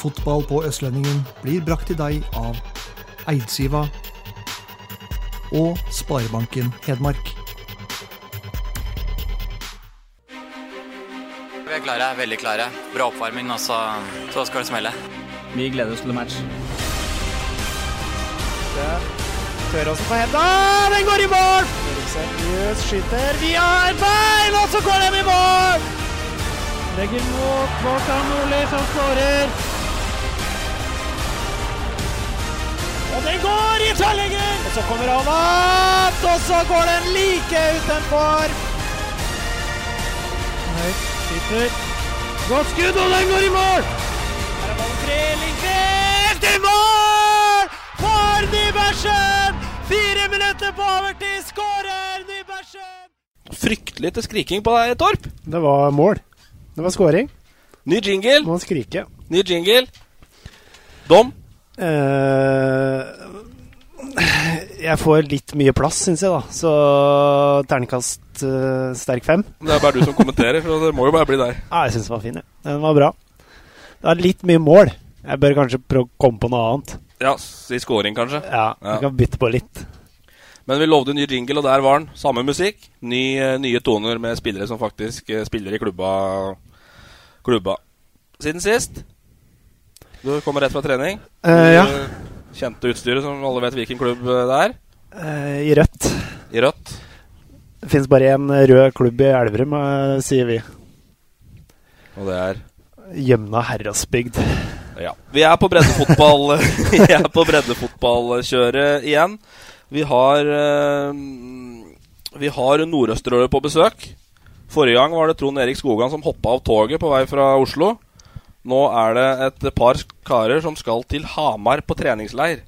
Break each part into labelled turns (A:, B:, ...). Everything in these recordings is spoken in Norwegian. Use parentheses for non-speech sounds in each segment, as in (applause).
A: Fotball på Østlendingen blir brakt til deg av Eidsiva og Sparebanken Hedmark.
B: Vi er klare, veldig klare. Bra oppvarming, og så, så skal det smelle.
C: Vi gleder oss til match.
D: Tøråsen på henda, den går i mål! Seriøst skyter via et bein, og så går den i mål! Legger mot Morten Nordli, som skårer. Og den går i tverrlegger! Og så kommer han opp, og så går den like utenfor. Høyt skyter. Godt skudd, og den går i mål! Her er ballen fri, Lindqvist i mål! For Nybergsen! Fire minutter på overtid, skårer Nybergsen!
C: Fryktelig til skriking på deg, Torp.
D: Det var mål. Det var skåring.
C: Ny jingle,
D: Må skrike.
C: ny jingle. Dom.
D: Eh, jeg får litt mye plass, syns jeg, da. Så terningkast eh, sterk fem.
C: Det er bare du som kommenterer, så det må jo bare bli deg.
D: Ja, jeg syns den var fin, jeg. Den var bra. Det er litt mye mål. Jeg bør kanskje prøve å komme på noe annet.
C: Ja, si scoring, kanskje.
D: Ja,
C: Ja.
D: Vi kan bytte på litt.
C: Men vi lovde ny jingle, og der var den. Samme musikk, ny, eh, nye toner med spillere som faktisk eh, spiller i klubba. klubba. Siden sist. Du kommer rett fra trening.
D: Eh, ja.
C: Du Kjente utstyret, som alle vet hvilken klubb eh, det er.
D: Eh, I rødt.
C: I rødt.
D: Det fins bare én rød klubb i Elverum, eh, sier vi.
C: Og det er
D: Gjømna Herrasbygd.
C: Ja. Vi er på breddefotball (laughs) Vi er på breddefotballkjøret igjen. Vi har eh, Vi har Nordøsterøret på besøk. Forrige gang var det Trond Erik Skogan som hoppa av toget på vei fra Oslo. Nå er det et par karer som skal til Hamar på treningsleir.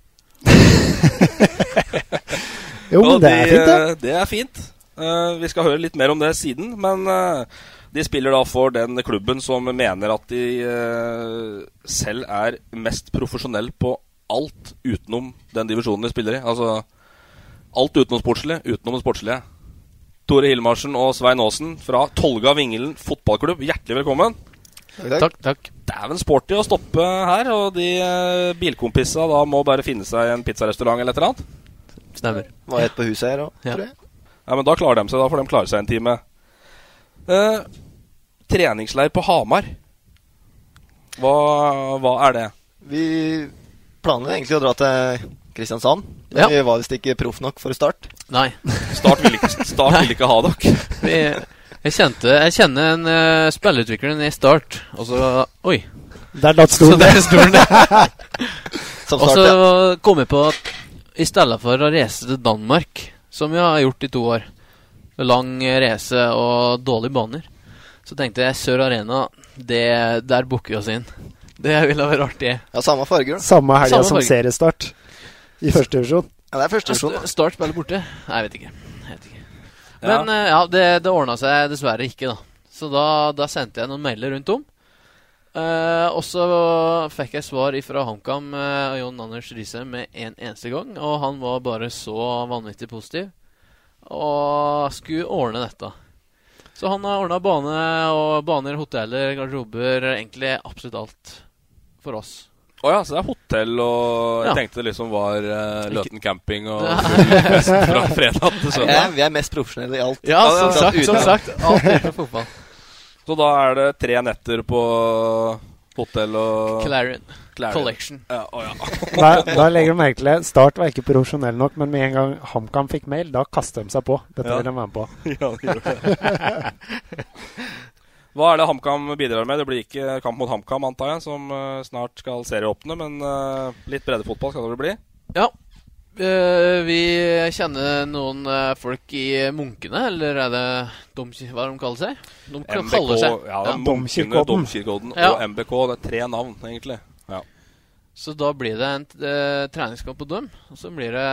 D: Jo, men
C: Og
D: det er
C: de,
D: fint, det.
C: eh, det. er fint. Eh, vi skal høre litt mer om det siden, men eh, de spiller da for den klubben som mener at de eh, selv er mest profesjonell på alt utenom den divisjonen de spiller i. Altså alt utenom sportslig, utenom det sportslige. Tore Hilmarsen og Svein Aasen fra Tolga Vingelen fotballklubb, hjertelig velkommen.
E: Takk, takk.
C: Dæven sporty å stoppe her, og de eh, bilkompissa da må bare finne seg en pizzarestaurant eller et eller annet.
E: Stemmer.
F: Var et på huset her òg,
E: Ja.
F: tror jeg.
C: Ja, men da klarer de seg. Da får de klare seg en time. Eh, treningsleir på Hamar. Hva, hva er det?
F: Vi planla egentlig å dra til Kristiansand, men
E: Ja.
F: vi var visst ikke proff nok for å starte.
E: Nei.
C: Start vil ikke, start vil ikke ha dere.
E: Vi, jeg kjente Jeg kjenner en uh, spilleutvikler i Start, og så Oi.
D: Der datt
E: Så
D: stolen.
E: der står den der.
F: Som
E: Og
F: start,
E: så
F: ja.
E: kom jeg på at i stedet for å reise til Danmark, som jeg har gjort i to år Lang reise og dårlige baner. Så tenkte jeg Sør Arena, det, der booker vi oss inn. Det ville vært artig.
F: ja. Samme farger. da.
D: Samme helga
E: Samme
D: som
E: farge.
D: seriestart i første divisjon.
F: Ja, det er første divisjon. da.
E: St- Start spiller borte? Nei, jeg vet ikke. Jeg vet ikke. Men eh, ja, det, det ordna seg dessverre ikke, da. Så da, da sendte jeg noen mailer rundt om. Eh, og så fikk jeg svar fra HamKam eh, og Jon Anders Riise med en eneste gang. Og han var bare så vanvittig positiv og skulle ordne dette. Så han har ordna bane og baner, hoteller, garderober, egentlig absolutt alt for oss.
C: Å ja, så det er hotell og Jeg
E: Ja.
C: tenkte det liksom var eh, Løten camping og
E: (laughs) Ja.
C: full fest fra fredag til
F: Vi er,
C: søndag.
F: vi er mest profesjonelle i alt.
E: Ja,
F: det er
E: som
F: sant,
E: sagt, som
F: uten-
E: sagt. Alt (laughs) utenom fotball.
C: Så da er det tre netter på hotell og
E: Clarion
C: Clarion.
E: Collection.
C: Ja, å ja.
D: Da, da legger de merke til det. Start var ikke profesjonell nok, men med en gang HamKam fikk mail, da kastet de seg på. Dette
C: Ja.
D: vil de være med på.
C: (laughs) ja det gjorde det. (laughs) Hva er det HamKam bidrar med? Det blir ikke kamp mot HamKam, antar jeg, som eh, snart skal serieåpne, men eh, litt breddefotball skal det vel bli?
E: Eh, vi kjenner noen eh, folk i Munkene, eller er det domkir... Hva er det de kaller seg? De kl-
C: MBK,
E: kaller seg
C: ja, det er
E: Ja.
C: Munkene,
D: Domkirkeodden.
C: Domkirkeodden
E: Ja.
C: og MBK. Det er tre navn, egentlig. Ja.
E: Så da blir det en eh, treningskamp på dem. Og så blir det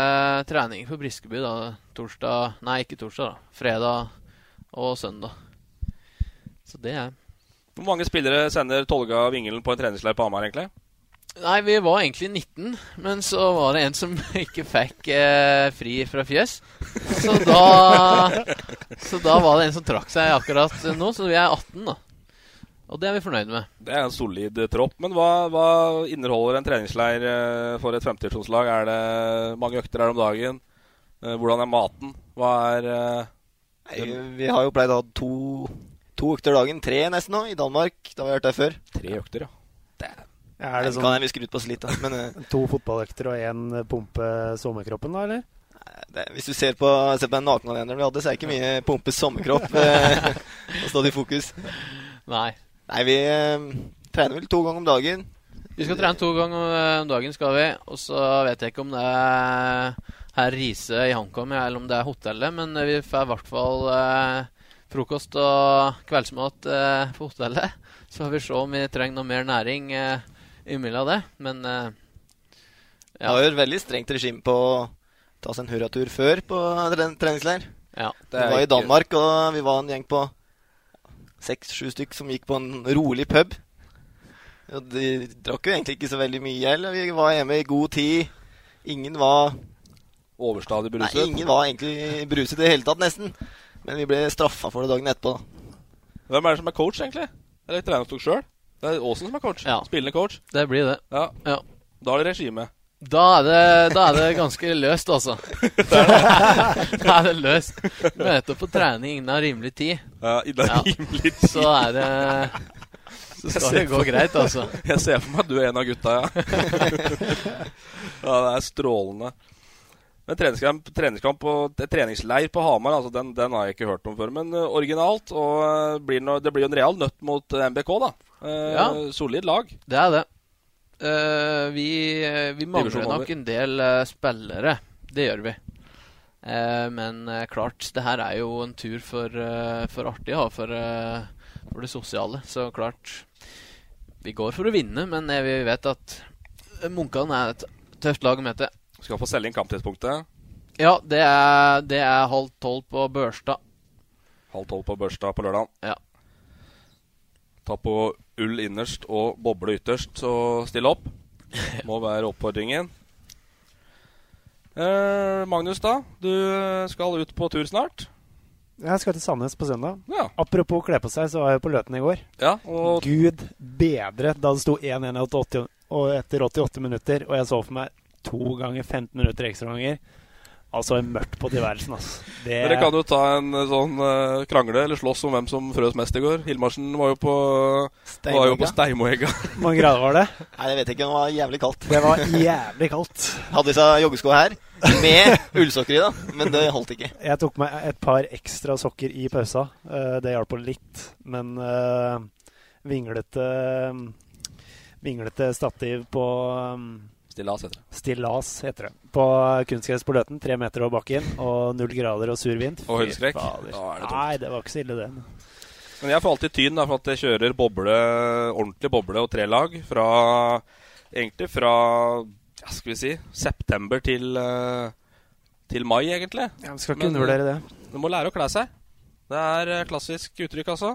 E: trening på Briskeby da torsdag Nei, ikke torsdag, da. Fredag og søndag. Så det er
C: Hvor mange spillere sender Tolga Vingelen på en treningsleir på Hamar, egentlig?
E: Nei, vi var egentlig 19, men så var det en som (laughs) ikke fikk eh, fri fra fjøs.
D: (laughs)
E: Så da, så da var det en som trakk seg akkurat nå, så vi er 18, da. Og det er vi fornøyd med.
C: Det er en solid eh, tropp. Men hva, hva inneholder en treningsleir eh, for et femtivisjonslag? Er det mange økter her om dagen? Eh, Hvordan er maten? Hva er eh,
G: Nei, vi har jo pleid å ha to, to økter dagen. Tre nesten nå, i Danmark. Da har vi vært der før.
C: Tre økter, ja.
D: Er det
G: Nei,
D: sånn
G: Kan jeg skru ut på oss litt, da. Men eh,
D: to fotballøkter og én pumpe sommerkroppen, da, eller?
G: det, hvis du ser på, ser på den nakenalenderen vi hadde, så er det ikke mye pumpe sommerkropp
E: (laughs)
G: eh, og stadig fokus.
E: Nei.
G: Nei, vi eh, trener vel to ganger om dagen.
E: Vi skal trene to ganger om- om dagen, skal vi. Og så vet jeg ikke om det er herr Riise i Hongkong eller om det er hotellet, men eh, vi får i hvert fall eh, frokost og kveldsmat eh, på hotellet. Så får vi se om vi trenger noe mer næring eh, imellom det, men eh,
G: Vi har jo et veldig strengt regime på å ta oss en hurratur før på tre- treningsleir.
E: ja.
G: Vi var i Danmark, og vi var en gjeng på seks-sju stykk som gikk på en rolig pub. Og de drakk jo egentlig ikke så veldig mye heller. Vi var hjemme i god tid. Ingen var,
C: Overstadig
G: nei,
C: beruset.
G: ingen var egentlig bruset i det hele tatt, nesten. Men vi ble straffa for det dagen etterpå. da.
C: Hvem er det som er coach, egentlig? Eller trenerstokk sjøl? Det er Aasen som er coach.
E: Ja.
C: Spillende coach.
E: Det blir det.
C: Ja.
E: Ja.
C: Da er det regime.
E: Da er det, da er det ganske løst,
G: (laughs)
E: altså. (laughs) da er det løst. Møte opp på trening innen rimelig tid,
C: Ja, i dag
E: Ja.
C: rimelig tid.
E: så er det Så skal det gå greit, altså.
C: Jeg ser for meg at du er en av gutta, ja. (laughs) ja, det er strålende. Men treningskamp, treningskamp og eh, treningsleir på Hamar, altså den, den har jeg ikke hørt om før. Men eh, originalt. Og eh, blir no, det blir jo en real nøtt mot eh, MBK, da. Eh,
E: Ja.
C: Solid lag.
E: Det er det. Eh, vi, eh, vi mangler
C: Divisjon over.
E: nok en del eh, spillere. Det gjør vi. Eh, men eh, klart, det her er jo en tur for, eh, for artig og for, eh, for det sosiale. Så klart Vi går for å vinne, men eh, vi vet at Munkene er et tøft lag å møte.
C: Skal få selge inn kamptidspunktet.
E: Ja, det er, det er halv tolv på Børstad.
C: Halv tolv på Børstad på lørdag.
E: Ja.
C: Ta på ull innerst og boble ytterst, så still opp. Må være oppfordringen. Eh, Magnus, da. Du skal ut på tur snart.
D: Jeg skal til Sandnes på søndag.
C: Ja.
D: Apropos kle på seg, så var jeg på Løten i går.
C: ja og
D: Gud bedre da det sto 1-1 etter 80 og etter 88 minutter, og jeg så for meg to ganger 15 minutter ekstraomganger. Altså mørkt på tilværelsen, altså. Det,
C: dere kan jo ta en eh, sånn eh, krangle eller slåss om hvem som frøs mest i går. Hilmarsen var jo på, var jo på Steimoegga.
G: Steinbakka.
D: Hvor mange grader var det?
G: Nei, jeg vet ikke. Det var jævlig kaldt.
D: Det var jævlig kaldt.
G: Hadde disse joggesko her, med ullsokker i, da. Men det holdt ikke.
D: Jeg tok meg et par ekstra sokker i pausa. Eh, Det hjalp på litt, men eh, vinglete Vinglete stativ på um,
C: Stillas heter det.
D: stillas, heter det. På kunstgress på Løten, tre meter over bakken, og null grader og sur vind.
C: Og
D: Fy
C: høydeskrekk.
D: fader.
C: Da er det tungt.
D: Nei, det var ikke så ille, det.
C: Men jeg får alltid tyn da, for at jeg kjører boble, ordentlig boble og trelag fra Egentlig fra ja, skal vi si, september til, eh, til mai, egentlig.
D: Ja, vi
C: ikke
D: skal ikke
C: Men-
D: undervurdere
C: undervurdere
D: det.
C: Du må lære å kle seg. Det er eh, klassisk uttrykk, altså.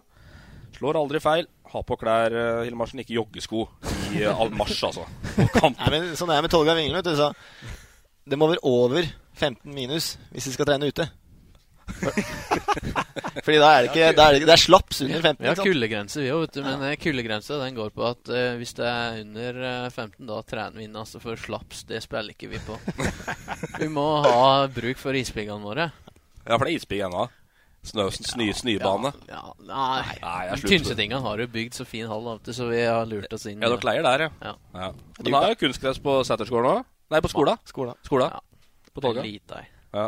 C: Slår aldri feil. Ha på klær, eh, Hilmarsen, ikke joggesko i eh, all marsj, altså. På kamp.
G: Nei, men Sånn er det med Tolga Vingle. vet du, så Det må være over 15 minus hvis vi skal trene ute. (laughs) Fordi da er det ikke da er det, ikke- det er slaps under 15.
E: Vi har
G: ikke sant?
E: kuldegrense, vi òg, vet du. Men eh, kuldegrensa den går på at eh, hvis det er under eh, 15, da trener vi inn. Altså for slaps, det spiller ikke vi
G: (laughs)
E: på. vi må ha bruk for ispiggene våre.
C: Ja, for det er isbygg ennå. Snøsen, sny, snøbane.
E: Ja, nei.
C: Nei, jeg
E: Men
C: slutter.
E: Tynsetingene har jo bygd så fin hall, da, vet du, så vi har lurt oss inn.
C: Ja, dere leier der, ja.
E: Ja.
C: ja. Men da er jo kunstgress på Sæterskolen òg. Nei, på skolen.
G: Skolen.
C: Skolen.
E: Ja.
C: På Tolga.
E: Lite, ei.
C: Ja.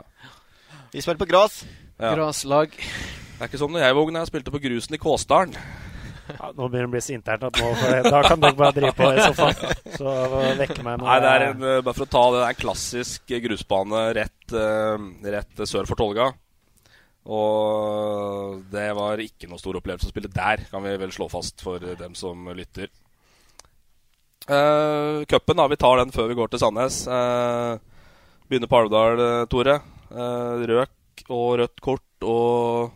G: Vi spiller på gress.
C: Ja.
E: Graslag.
C: Det er ikke som når jeg var ung, da jeg spilte på grusen i Kåsdalen.
D: eh, Ja, nå begynner det å bli så internt at nå får jeg- da kan dere bare drive på i sofaen. Så vekke meg når
C: Nei, det er
D: jeg-
C: en, eh, bare for å ta det, det er en klassisk eh, grusbane rett, eh, rett sør for Tolga. Og det var ikke noe stor opplevelse å spille der, kan vi vel slå fast for eh, dem som lytter. Uh, Cupen, da. Vi tar den før vi går til Sandnes. Eh, begynner på Alvdal, eh, Tore. Eh, røk og rødt kort og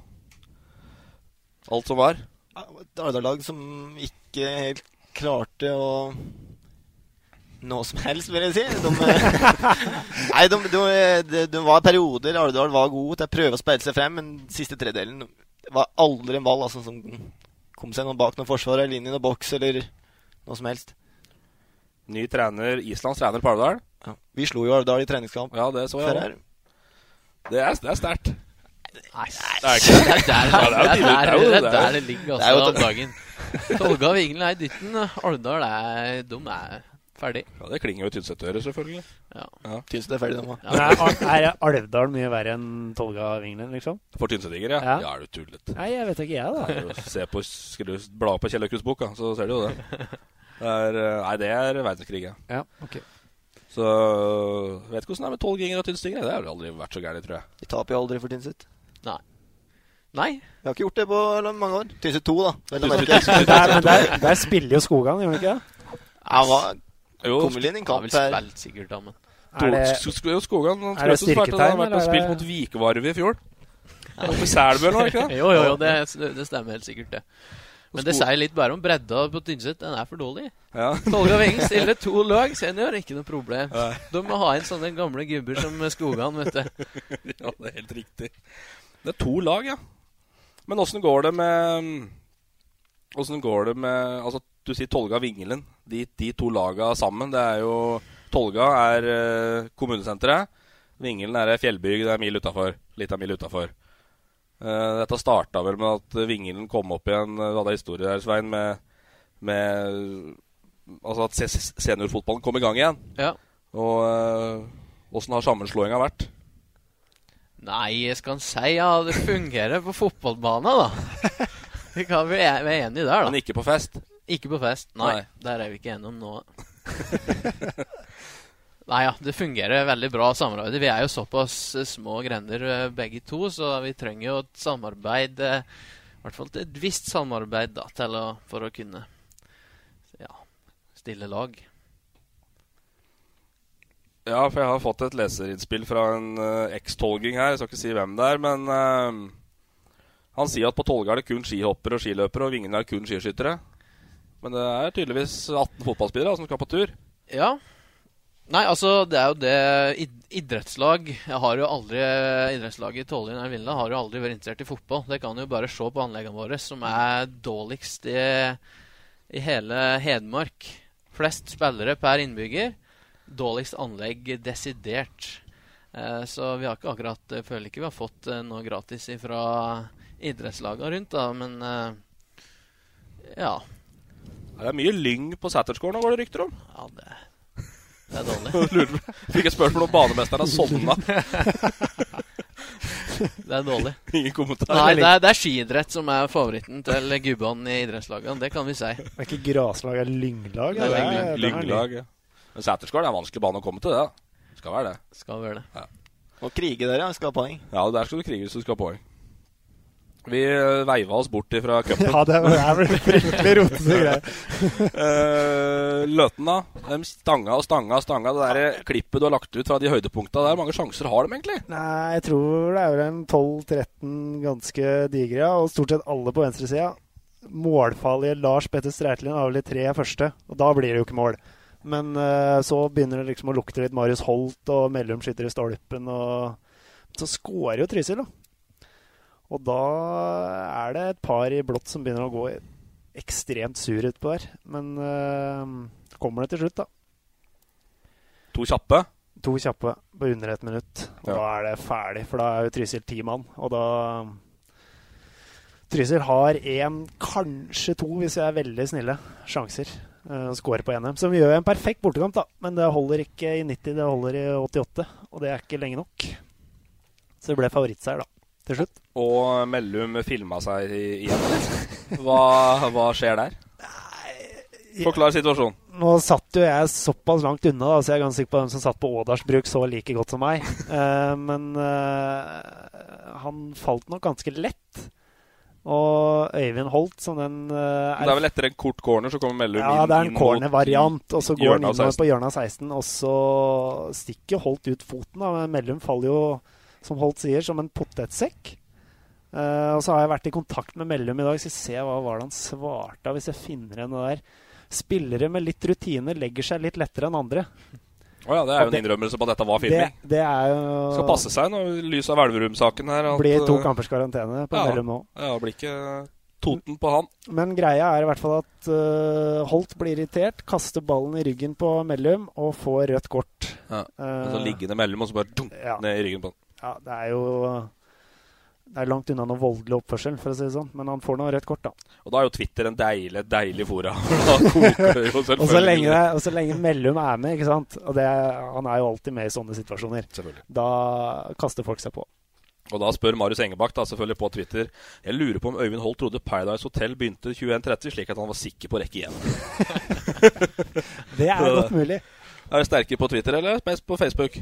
C: alt som var.
G: et Arendal-lag som ikke helt klarte å noe som helst, vil jeg si.
E: (laughs)
G: De, nei, de, de, de, de var perioder Arendal var god til å prøve å speile seg frem, men siste tredelen var aldri en ball altså, som kom seg noe bak noe forsvar eller inn i noen boks eller noe som helst.
C: Ny trener, Islands trener på Alvdal.
G: Vi slo jo Arendal i treningskamp.
C: Ja, det så jeg
G: Før
C: også.
G: her.
C: Det er, det er sterkt.
E: Nei,
C: det er ikke det.
E: Det
C: Ja,
E: er
C: det er jo tydelig- det
E: der-
C: er jo- det
E: det er
C: er jo-
E: der det ligger
C: det er jo-
E: altså om dagen. Tolga Vingelen er i dytten. Alvdal er De er ferdig.
C: Ja, det klinger jo i Tynset-øret, selvfølgelig.
E: Ja.
C: Ja.
G: Tynset er ferdig, de òg.
E: Ja.
D: Men er, er Alvdal mye verre enn Tolga Vinglen, liksom?
C: For tynsetinger, ja.
D: Ja.
C: Ja, er du tullet.
D: Nei, jeg vet ikke, jeg, da.
C: Nei, Se på, skal du bla på Kjell Aukrusts bok, da, så ser du jo det. det er, eh, nei, det er verdenskrig, ja.
D: Ja, ok.
C: Så jeg vet ikke hvordan det er med tolvginger og tynnstinger. Det har vel aldri vært så gærent, tror jeg.
G: Vi taper jo aldri for Tynset.
E: Nei.
G: Vi har ikke gjort det på mange år. Tynset 2, da. Vel å merke.
D: Men der, men der, der spiller jo Skogan, gjør han ikke det?
G: Han var
C: Jo,
G: kom vel inn i en
E: Han
G: kamp
E: har vel
G: her.
E: spilt sikkert, da, men
D: Er det,
C: Sk- sk- jo, Skogan han
D: er det
C: skulle også svarte, Han har
D: styrketegn,
C: vært og
D: eller er
C: spilt mot Vikevarv i fjor. Oppe i Selbu eller noe, ikke
D: (laughs)
C: det?
E: (laughs) Jo, jo, jo, det, det stemmer helt sikkert, det. Men det sier litt bare om bredda på Tynset. Den er for dårlig.
C: Ja.
E: Tolga Veng stiller to lag senior, ikke noe problem.
C: Nei.
E: De må ha inn sånne gamle gubber som Skogan, vet du.
C: ja, det er helt riktig. Det er to lag, ja. Men åssen går det med Åssen går det med Altså, du sier Tolga og Vingelen. De, de to laga sammen, det er jo Tolga er eh, kommunesenteret. Vingelen er ei fjellbygd det er en mil utafor. Litt av en mil utafor. Eh, dette starta vel med at Vingelen kom opp igjen eh, Du hadde en historie der, Svein, med, med Altså at se- se- seniorfotballen kom i gang igjen.
E: Ja.
C: Og eh, åssen har sammenslåinga vært?
E: Nei, jeg skal si ja, det fungerer på fotballbanen, da. Vi kan vi er vi er enige der,
C: Men
E: da.
C: ikke på fest.
E: Ikke på fest. Nei,
C: Nei.
E: der er vi ikke enige om nå. (laughs) Nei ja, det fungerer veldig bra samarbeidet. Vi er jo såpass eh, små grender eh, begge to, så vi trenger jo et samarbeid eh, I hvert fall et visst samarbeid da, til å, for å kunne ja, stille lag.
C: Ja, for jeg har fått et leserinnspill fra en eh, eks-tolging her. Jeg skal ikke si hvem det er, men eh, han sier at på Tolga er det kun skihoppere og skiløpere, og Vingene er kun skiskyttere. Men det er tydeligvis 18 fotballspillere da, som skal på tur.
E: Ja. Nei, altså, det er jo det id Idrettslag Jeg har jo aldri Idrettslaget Tålin eller Villa har jo aldri vært interessert i fotball. Det kan jo bare se på anleggene våre, som er dårligst i, i hele Hedmark. Flest spillere per innbygger. Dårligst anlegg desidert. Eh, Så vi har ikke akkurat jeg Føler ikke vi har fått eh, noe gratis fra idrettslagene rundt, da, men eh, Ja.
C: Ja, Det er mye lyng på Satterscore nå, var det rykter om.
E: ja det, det er dårlig.
C: Fikk et spørsmål om banemesteren har sovna.
E: Det er dårlig.
C: (laughs) Ingen kommentar.
E: Nei, det er, det er skiidrett som er favoritten til gubbene i idrettslagene. Det kan vi si.
D: det er ikke graslag, det er lynglag?
E: Det er
D: eller?
E: lynglag.
D: Den er ny.
C: Lynglag. ja. Men Satterscore er en vanskelig bane å komme til, det. da. Skal være det.
E: Skal være det.
G: Og krige der, ja. Skal ha poeng.
C: Ja, der skal du krige hvis du skal ha poeng. Vi eh, veiva oss bort ifra cupen.
D: Ja, det er- det er vel fryktelig rotete greier.
C: Eh, Løten, da. De stanga og stanga og stanga. Det der klippet du har lagt ut fra de høydepunktene der, hvor mange sjanser har de egentlig?
D: Nei, jeg tror det er vel en 12-13 ganske digre, ja, og stort sett alle på venstresida. Målfarlige Lars Petter Streitelin har vel de tre første, og da blir det jo ikke mål. Men eh, så begynner det liksom å lukte litt Marius Holt, og Mellum skyter i stolpen, og Så skårer jo Trysil, da. Og da er det et par i blått som begynner å gå ekstremt sur utpå der. Men eh, kommer det til slutt, da.
C: To kjappe.
D: To kjappe på under ett minutt.
C: Ja.
D: Og Da er det ferdig, for da er jo Trysil ti mann. Og da Trysil har én, kanskje to, hvis vi er veldig snille, sjanser. eh, å Skåre på NM, som gjør en perfekt bortekamp, da. Men det holder ikke i 90, det holder i 88. Og det er ikke lenge nok. Så det ble favorittseier, da. Til slutt.
C: Og Mellum filma seg i- igjen. Hva, hva skjer der? Forklar situasjonen.
D: Nå satt jo jeg såpass langt unna, da, så jeg er ganske sikker på at de som satt på Ådals bruk, så like godt
C: (laughs)
D: som meg. Eh, men eh, han falt nok ganske lett. Og Øyvind Holt, som den eh,
C: Men Det er vel etter en kort corner, så kommer Mellum
D: Ja,
C: inn
D: det
C: inn
D: er en
C: mot
D: corner-variant, og så går han
C: hjørnet av
D: innover
C: 16.
D: på hjørnet av 16, og så stikker Holt ut foten. Da. Men Mellum faller jo, som Holt sier, som en potetsekk. Eh, og så har jeg vært i kontakt med Mellum i dag, skal se hva var det han svarte av, hvis jeg finner igjen det der. Spillere med litt rutine legger seg litt lettere enn andre.
C: Å ja, det er jo
D: Og
C: en innrømmelse på at dette var
D: Det,
C: filming.
D: det er jo
C: Skal passe seg nå, i lys av Elverum-saken her. at,
D: Blir to
C: eh,
D: kampers karantene på
C: ja,
D: Mellum nå.
C: Ja, det blir ikke Toten på han.
D: Men greia er i hvert fall at eh, Holt blir irritert, kaster ballen i ryggen på Mellum og får rødt kort.
C: Ja. Men så
D: Eh,
C: liggende Mellum, og så bare dunk
D: Ja.
C: ned i ryggen på han.
D: Ja, det er jo Det er langt unna noe voldelig oppførsel, for å si det sånn. Men han får nå rødt kort, da.
C: Og da er jo Twitter en deilig, deilig fora. (laughs) da koker det jo
D: Og så
C: selvfølgelig.
D: lenge, det- og så lenge Mellum er med, ikke sant. Og det, han er jo alltid med i sånne situasjoner. Da kaster folk seg på.
C: Og da spør Marius Engebakk da selvfølgelig på Twitter Jeg lurer på om Øyvind Holt trodde Paradise Hotel begynte 21.30, slik at han var sikker på å rekke igjen.
D: Det er godt mulig.
C: Er du sterkere på Twitter eller mest på Facebook?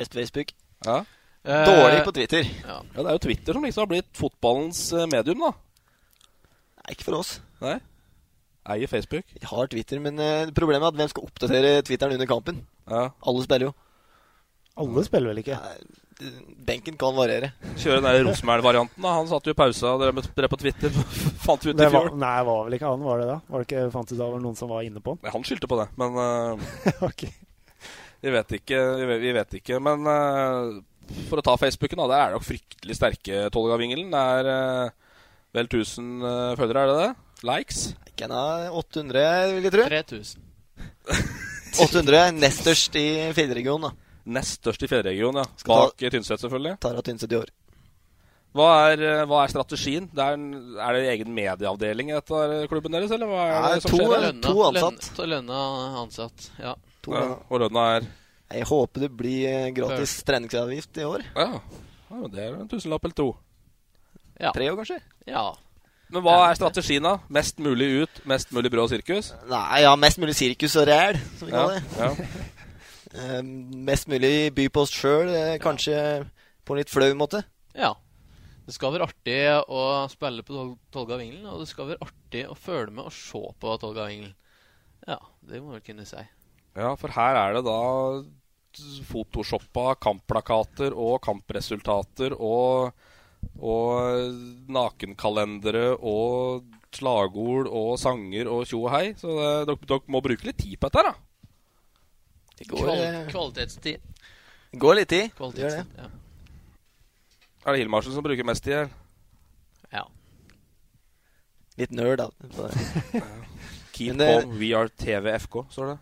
G: Best Facebook.
C: Ja.
E: Eh,
G: Dårlig på Twitter.
E: Ja.
C: ja, Det er jo Twitter som liksom har blitt fotballens eh, medium, da.
G: Nei, ikke for oss.
C: Nei? Eier Facebook.
G: Vi har Twitter, men eh, problemet er at hvem skal oppdatere Twitteren under kampen?
C: Ja.
G: Alle spiller jo.
D: Alle spiller vel ikke?
G: Benken kan variere.
C: Kjøre den der Rosenberg-varianten. da Han satt jo i pausa og drev drev på Twitter. (laughs) Fant vi ut i
D: Det var,
C: fjor.
D: nei, var vel ikke han, var det da? Var det ikke fant ut da var det noen som var inne på
C: Nei, Han skyldte på det, men eh,
G: (laughs)
D: Ok.
C: vi, vet ikke, vi, vet, vi vet ikke. Men eh, for å ta Facebooken, da. Der er det jo fryktelig sterke Tolga-vingelen. Det er eh, vel 1000 eh, følgere, er det det? Likes?
G: Ikke en av 800, vil jeg
E: Eh,
G: tro.
E: 3000.
G: 800, nest størst i fjellregionen, da.
C: Nest størst i fjellregionen, ja.
G: Skal
C: Bak eh, Tynset, selvfølgelig.
G: Tara Tynset i år.
C: Hva er, eh, hva er strategien? Det er, en- er det egen medieavdeling i dette eh, klubben deres, eller hva er
G: Nei,
C: det som
G: to,
C: skjer?
G: eh,
C: der?
E: Lønna,
G: To ansatt.
E: Lønna, lønna ansatt, ja.
G: To
C: Ja,
G: ganger.
C: og lønna er
G: Jeg håper det blir eh, gratis treningsavgift i år.
C: Ja, ja men det er en tusenlapp eller to.
G: Tre år, kanskje?
E: ja.
C: Men hva er strategien, da? Mest mulig ut, mest mulig brød og sirkus?
G: Nei, ja, mest mulig sirkus og ræl, som vi
C: Ja,
G: kaller det.
C: ja.
G: Eh, mest mulig by på oss sjøl, eh, kanskje på en litt flau måte.
E: ja. Det skal være artig å spille på Tol- Tolgavingelen, og det skal være artig å følge med og se på Tolgavingelen. Ja, det må jeg vel kunne si.
C: ja, for her er det da photoshoppa kampplakater og kampresultater og, og nakenkalendere og slagord og sanger og tjo og hei. Så det- dere dere må bruke litt tid på dette her, da.
G: Det går,
E: Kval
G: eh,
E: kvalitetstid.
G: går litt tid. Det gjør det.
E: Kvalitetstid, ja.
C: Er det Hilmarsen som bruker mest tid? eller?
E: ja.
G: Litt nerd, da.
C: (laughs)
G: på det.
C: Keep
G: Men det-
C: home, we are TVFK, står det.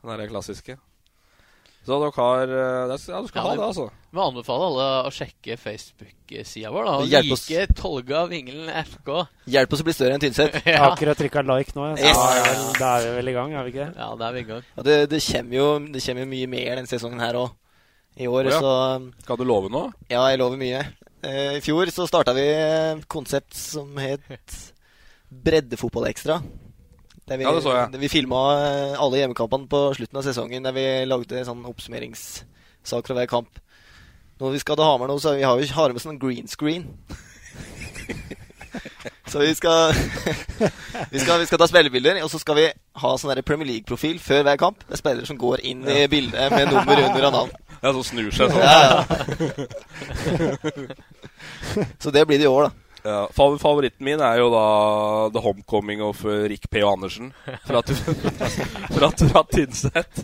C: Den er det klassiske. Så dere har eh, det er- Ja, du skal
E: Ja,
C: ha
E: det-
C: det, altså.
E: Vi anbefaler alle å sjekke Facebook-sida vår. da Og
G: Hjelp oss.
E: like Tolga Vingelen FK.
G: Hjelp oss å bli større enn Tynset.
C: (laughs)
D: Jeg
E: (laughs) Ja,
D: har akkurat trykka like nå, så
G: Yes.
D: da er, vel- da er vi vel i gang, er vi ikke det?
E: ja der er vi i gang.
G: Ja, det, det kommer jo det kommer jo mye mer denne sesongen her òg. I år,
C: Å, ja.
G: så
C: Skal du love noe?
G: Ja, jeg lover mye. Eh, I fjor så starta vi et konsept som het Breddefotballekstra. Der vi,
C: Ja, det så jeg.
G: Der vi filma eh, alle hjemmekampene på slutten av sesongen, der vi lagde en sånn oppsummeringssak fra hver kamp. Når vi skal til Hamar nå, så har vi- har vi har med sånn green screen. (laughs) så vi skal, (laughs) vi skal Vi skal ta spillebilder, og så skal vi ha sånn der Premier League-profil før hver kamp. Det er spillere som går inn i bildet med nummer under av navn.
C: Ja, som snur seg sånn.
G: Ja, ja.
C: (laughs)
G: Så det blir det i år, da.
C: Ja, fa- favoritten min er jo da The Homecoming of eh, Rick P. Andersen fra, Ty- (laughs) fra, fra Tynset.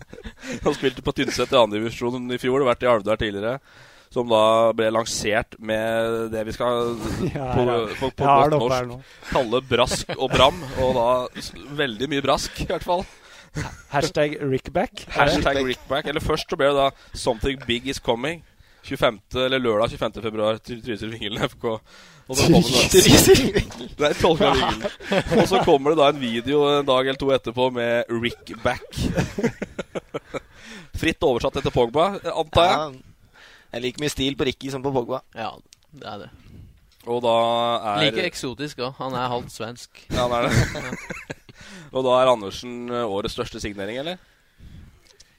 C: Han spilte på Tynset i andredivisjon i fjor, vært i Alvdal tidligere. Som da ble lansert med det vi skal
D: Ja,
C: på,
D: ja.
C: på, på
D: Jeg har
C: godt
D: det oppe her
C: norsk
D: nå.
C: kalle brask og bram. Og da s- veldig mye brask, i hvert fall.
D: Hashtag Rickback.
C: Hashtag Rickback. Eller først så ble det da 'Something big is coming'. 25, eller lørdag 25. februar til Trysil Vingelen FK. Og så kommer det, Nei, Tolga Vingelen. Og så kommer det da en video en dag eller to etterpå med Rick Back. Fritt oversatt etter Pogba, antar jeg.
G: Ja. Jeg liker mye stil på Ricky som på Pogba.
E: Ja, det er det.
C: Og da er
E: Like eksotisk òg. Han er halvt svensk.
C: Ja, det er det. (laughs) Og da er Andersen eh, årets største signering, eller?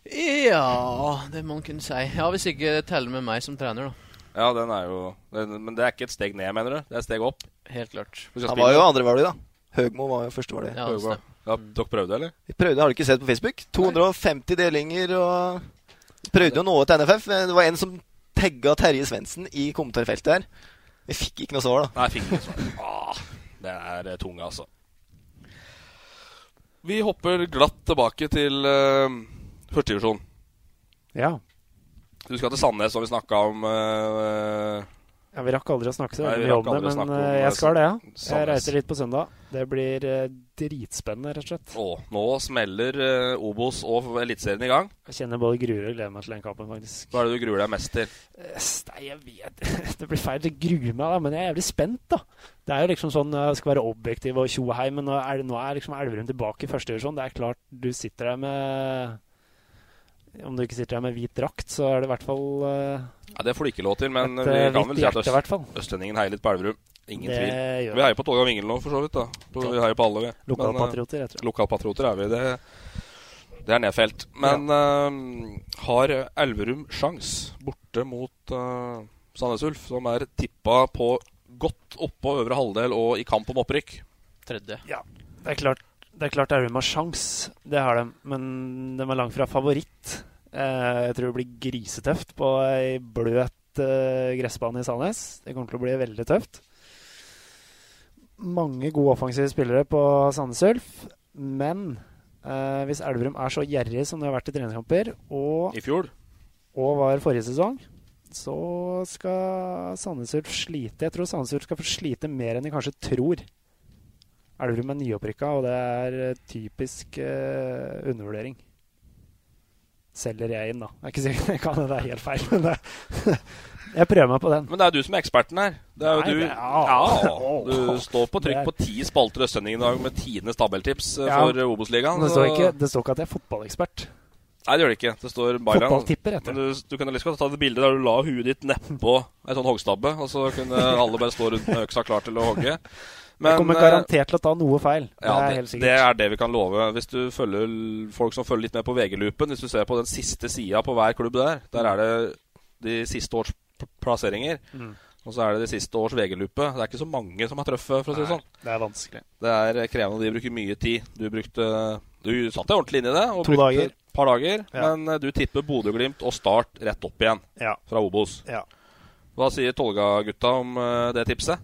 E: Ja, det må man kunne si. Ja, Hvis ikke det teller med meg som trener, da.
C: Ja, den er jo den, Men det er ikke et steg ned, mener du? Det er et steg opp?
E: Helt klart.
G: Han var jo andrevalget, da. Høgmo var jo førstevalget.
C: Ja, ja, dere prøvde, eller?
G: Vi prøvde, har du ikke sett på Facebook? 250 delinger og Vi Prøvde å nå ut til NFF. men Eh, Det var en som tagga Terje Svendsen i kommentarfeltet her. Vi fikk ikke noe svar, da.
C: Nei, fikk ikke noe svar. Ah, det er eh, tunge, altså. Vi hopper glatt tilbake til uh, førstedivisjon.
D: Ja.
C: Du skal til Sandnes, som vi snakka om. eh,
D: Ja, vi rakk aldri å snakke så
C: Nei, vi
D: veldig mye
C: rakk
D: om det,
C: aldri å
D: men
C: snakke om,
D: eh,
C: eh,
D: jeg skal det, ja. Jeg
C: Sandnes.
D: reiser dit på søndag. Det blir eh, dritspennende, rett og slett.
C: å, nå smeller eh, Obos og Eliteserien i gang.
D: Jeg kjenner både gruer og gleder meg til den kampen, faktisk.
C: Hva er det du gruer deg mest til?
D: Yes, Eh, Nei, jeg vet (laughs) Det blir feil. Jeg gruer meg, da, men jeg er jævlig spent, da. Det er jo liksom sånn Jeg skal være objektiv og tjoe hei, men nå er, det- nå er liksom Elverum tilbake i første divisjon. Det er klart du sitter der med Om du ikke sitter der med hvit drakt, så er det i hvert fall eh,
C: Ja, det får du ikke lov til, men
D: Et,
C: vi
D: eh,
C: kan
D: hvitt
C: vel si at
D: hjerte, i hvert fall.
C: øst, østlendingen heier litt på Elverum. Ingen
D: Det
C: tvil.
D: gjør
C: Vi heier på Tolga Vingel nå, for så vidt. da på, Vi heier på alle, vi. Men, eh,
D: Lokalpatrioter, jeg tror.
C: Lokalpatrioter er vi. Det, det er nedfelt. Men eh, har Elverum sjans borte mot eh, Sandnes Ulf, som er tippa på godt oppå øvre halvdel og i kamp om opprykk?
E: Tredje.
D: Ja. Det er klart det er klart Elverum har sjans, det har de. Men de er langt fra favoritt. Eh, Jeg tror det blir grisetøft på ei bløt eh, gressbane i Sandnes. Det kommer til å bli veldig tøft. Mange gode offensive spillere på Sandnes Ulf, men eh, hvis Elverum er så gjerrig som de har vært i treningskamper, og
C: I fjor?
D: og var forrige sesong, så skal Sandnes Ulf slite. Jeg tror Sandnes Ulf skal få slite mer enn de kanskje tror. Elverum er nyopprykka, og det er eh, typisk eh, undervurdering. Selger jeg inn, da. Jeg er ikke sikker, (laughs) jeg kan det er helt feil, men det, (laughs) jeg prøver meg på den.
C: Men det er du som er eksperten her. Det er jo
D: Nei,
C: du,
D: det-
C: ja,
D: ja.
C: du står på trykk
D: Det er-
C: på ti spalter i Østlendingen i dag med tidenes tabelltips eh,
D: Ja.
C: for Obos-ligaen.
D: Men det, står
C: så-
D: ikke, det står ikke at jeg er fotballekspert.
C: Nei, det gjør det ikke. Det står byline.
D: Fotballtipper heter
C: Men Du, du kunne lyst til å ta det bildet der du la huet ditt nedpå ei sånn hoggstabbe, og så kunne alle bare stå rundt med øksa klar til å hogge.
D: jeg kommer
C: eh,
D: garantert til å ta noe feil. Det
C: ja,
D: er
C: det,
D: helt sikkert.
C: det er det vi kan love. Hvis du følger l- folk som følger litt med på VG-loopen, hvis du ser på den siste sida på hver klubb der, der er det de siste års p- plasseringer.
D: Mm.
C: Og så er det de siste års VG-loope. Det er ikke så mange som har truffet, for å si det
D: Nei,
C: sånn.
D: det er vanskelig.
C: Det er krevende, og de bruker mye tid. Du brukte Du satte deg ordentlig inn i det. Og
D: To
C: brukte
D: dager.
C: Et par dager.
D: Ja.
C: Men eh, du tipper Bodø-Glimt og Start rett opp igjen
D: Ja.
C: fra Obos.
D: Ja.
C: Hva sier Tolga-gutta om eh, det tipset?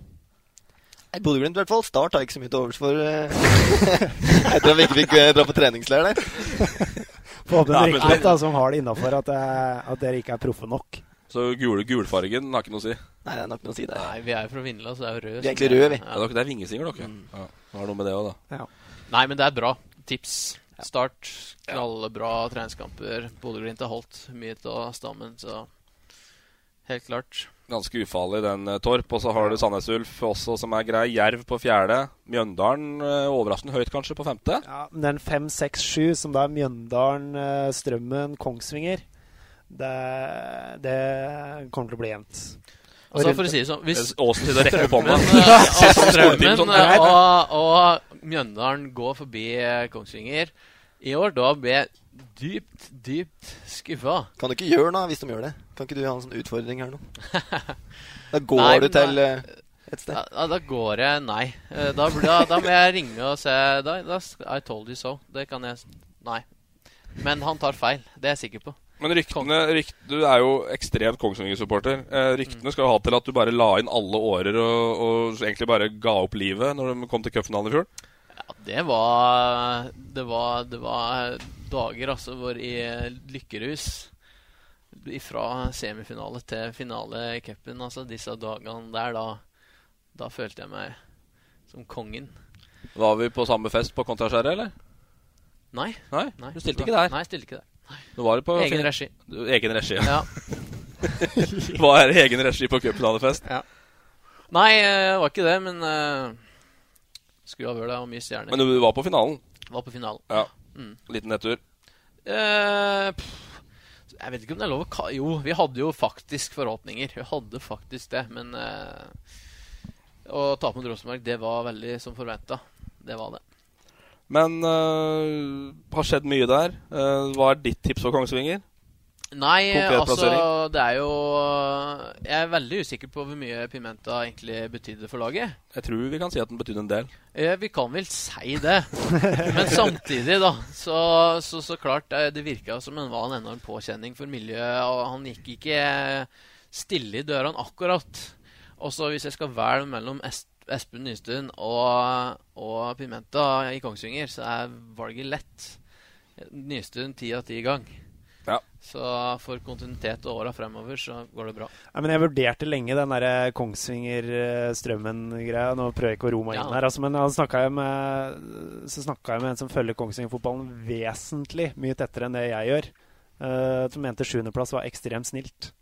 G: Nei, Bodø-Glimt i hvert fall. Start har ikke så mye til overs for eh, (laughs) Etter at vi ikke fikk eh, dra på treningsleir der.
D: Få håpe
C: Ja,
D: dere
C: men
D: ikke
C: det-
D: da, som har det innafor, at, jeg- at dere ikke er proffe nok.
C: Så gul, gulfargen har ikke noe å si. Nei, det er nok noe å si der.
E: Nei, vi er jo fra Vindla, så det er jo rød.
C: Vi er
E: så
C: egentlig
E: det-
C: røde, vi.
E: ja.
C: Ja, Mm. dere- det er vingesinger, dere. Ja. Det var noe med det òg, da.
E: Nei, men det er bra. Tips. Start. Knallbra treningskamper. Bodø-Glimt har holdt mye av stammen, så helt klart.
C: Ganske ufarlig, den eh, Torp. Og så har du Sandnes Ulf også, som er grei. Jerv på fjerde. Mjøndalen eh, overraskende høyt, kanskje, på femte.
D: Ja, men den 5-6-7, som da er Mjøndalen, eh, Strømmen, Kongsvinger, det, det kommer til å bli jevnt.
E: Og så for å si det sånn hvis
C: Åsen til å rekke opp hånda. (laughs)
E: Strømmen, eh, og
C: Skoleteam
E: Strømmen
C: sånn,
E: eh,
C: nei.
E: og, og Mjøndalen går forbi eh, Kongsvinger i år, da blir jeg dypt, dypt skuffa.
G: Kan du ikke gjøre noe hvis de gjør det? Kan ikke du ha en sånn utfordring (laughs) her nå? Da går
E: Nei,
G: du
E: men
G: til
E: da-
G: eh, et sted.
E: Ja, ja, da går jeg Nei. Eh, Da, bl- da, da må jeg ringe og se da, da, sk- I told you so. Det kan jeg s- Nei. Men han tar feil. Det er jeg sikker på.
C: Men ryktene, rykt, Du er jo ekstremt Kongsvinger-supporter. Eh, ryktene skal jo ha til at du bare la inn alle årer og, og egentlig bare ga opp livet når de kom til cupfinalen i fjor.
E: Ja, det var Det var, det var dager altså hvor i eh, lykkerus Fra semifinale til finale i cupen, altså disse dagene der, da, da følte jeg meg som kongen.
C: Var vi på samme fest på Kontraskjæret, eller?
E: Nei.
C: Nei, Du stilte ikke der?
E: Nei, jeg stilte ikke der. Nei.
C: Du var på
E: Egen regi.
C: Du- Egen regi,
E: Ja.
C: Hva er egen regi på cupfinalefest?
E: Ja. Nei, det var ikke det, men eh, skulle ha vært det. og Mye stjerner.
C: Men du var på finalen?
E: Var på finalen.
C: Ja.
E: Mm.
C: Liten nedtur.
E: Eh, pff, jeg vet ikke om det er lov å ka... Jo, vi hadde jo faktisk forhåpninger. Vi hadde faktisk det, men eh, Å tape mot Rosenborg, det var veldig som forventa. Det var det.
C: Eh, Men øh, har skjedd mye der. Eh, hva er ditt tips for Kongsvinger?
E: Nei,
C: Konkret
E: altså
C: plassering.
E: Det er jo eh, Jeg er veldig usikker på hvor mye Pimenta egentlig betydde for laget.
C: Jeg tror vi kan si at den betydde en del.
E: Eh, Vi kan vel si det. Men samtidig, da, så, så, så klart eh, Det virka som en var en enorm påkjenning for miljøet. Og han gikk ikke stille i dørene akkurat. Og så hvis jeg skal velge mellom Es- Espen Nystuen og, og Pimenta i Kongsvinger, så er valget lett. Nystuen ti av ti i gang. Så for kontinuitet og åra fremover så går det bra.
D: Nei, men jeg vurderte lenge den der Kongsvinger-strømmen-greia. Nå prøver jeg ikke å ro meg
E: Ja.
D: inn her, altså, men han snakket jeg med, så snakka jeg med en som følger Kongsvinger-fotballen vesentlig mye tettere enn det jeg gjør. eh, som mente sjuendeplass var ekstremt snilt.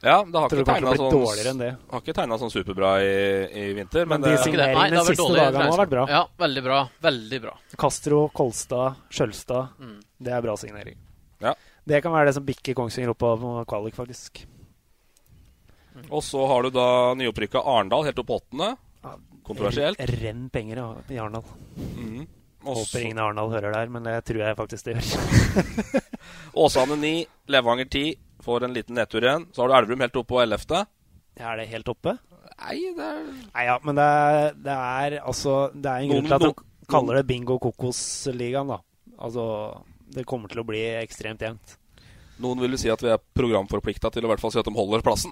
C: Ja, det har
D: Tror
C: ikke
D: det kanskje
C: tegna
D: blir dårligere
C: sånn,
D: enn det.
C: har ikke tegnet sånn superbra i, i vinter. Men, eh,
D: Men de
C: det-
D: signerer- Ikke det. Nei, det har vært siste dårlig dagene har vært bra.
E: Ja, veldig bra. Veldig bra.
D: Castro, Kolstad, Skjølstad.
E: Mm.
D: Det er bra signering.
C: Ja.
D: Det kan være det som bikker Kongsvinger opp av kvalik, faktisk.
C: Og så har du da nyopprykka Arendal helt opp på åttende. Kontroversielt.
D: Renn penger ja, i Arendal.
C: Og så-
D: Håper ingen i Arendal hører der, men det tror jeg faktisk det gjør. (laughs)
C: Åsane 9, Levanger 10 får en liten nedtur igjen. Så har du Elverum helt oppe på 11.
D: Er det helt oppe?
C: Nei, det er
D: Nei, ja, men det er, det er altså Det er en grunn
C: Noen-
D: til at
C: noen-
D: de kaller det bingo kokos-ligaen, da. Altså, det kommer til å bli ekstremt jevnt.
C: Noen vil jo si at vi er programforplikta til å i hvert fall si at de holder plassen.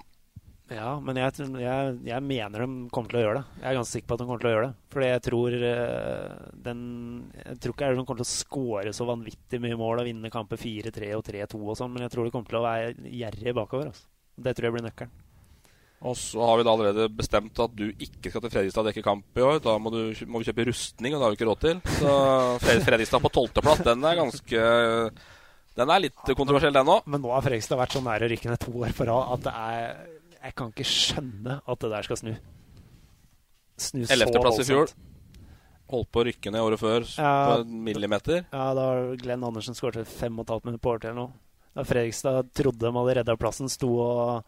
D: Ja, men jeg, tror- jeg, jeg mener de kommer til å gjøre det. Jeg er ganske sikker på at de kommer til å gjøre det. Fordi jeg tror eh, den Jeg tror ikke de kommer til å skåre så vanvittig mye mål og vinne kamper 4-3 og 3-2 og sånn, men jeg tror de kommer til å være gjerrige bakover. Altså. Det tror jeg blir nøkkelen.
C: Og så har vi da allerede bestemt at du ikke skal til Fredrikstad og dekke kamp i år. Da må, du, må vi kjøpe rustning, og det har vi ikke råd til. Så Fred- Fredrikstad på tolvteplass, den er ganske Den er litt kontroversiell, den òg.
D: Men nå har Fredrikstad vært så nære å rykke ned to år på rad at det er Jeg kan ikke skjønne at det der skal snu. Snu så
C: Ellevteplass i fjor.
D: voldsomt.
C: Holdt på å rykke ned året før s-
D: Ja.
C: på en millimeter.
D: Ja, da har Glenn Andersen skåret vel fem og et halvt minutt på overtid eller noe. Da Fredrikstad trodde de hadde redda plassen, sto og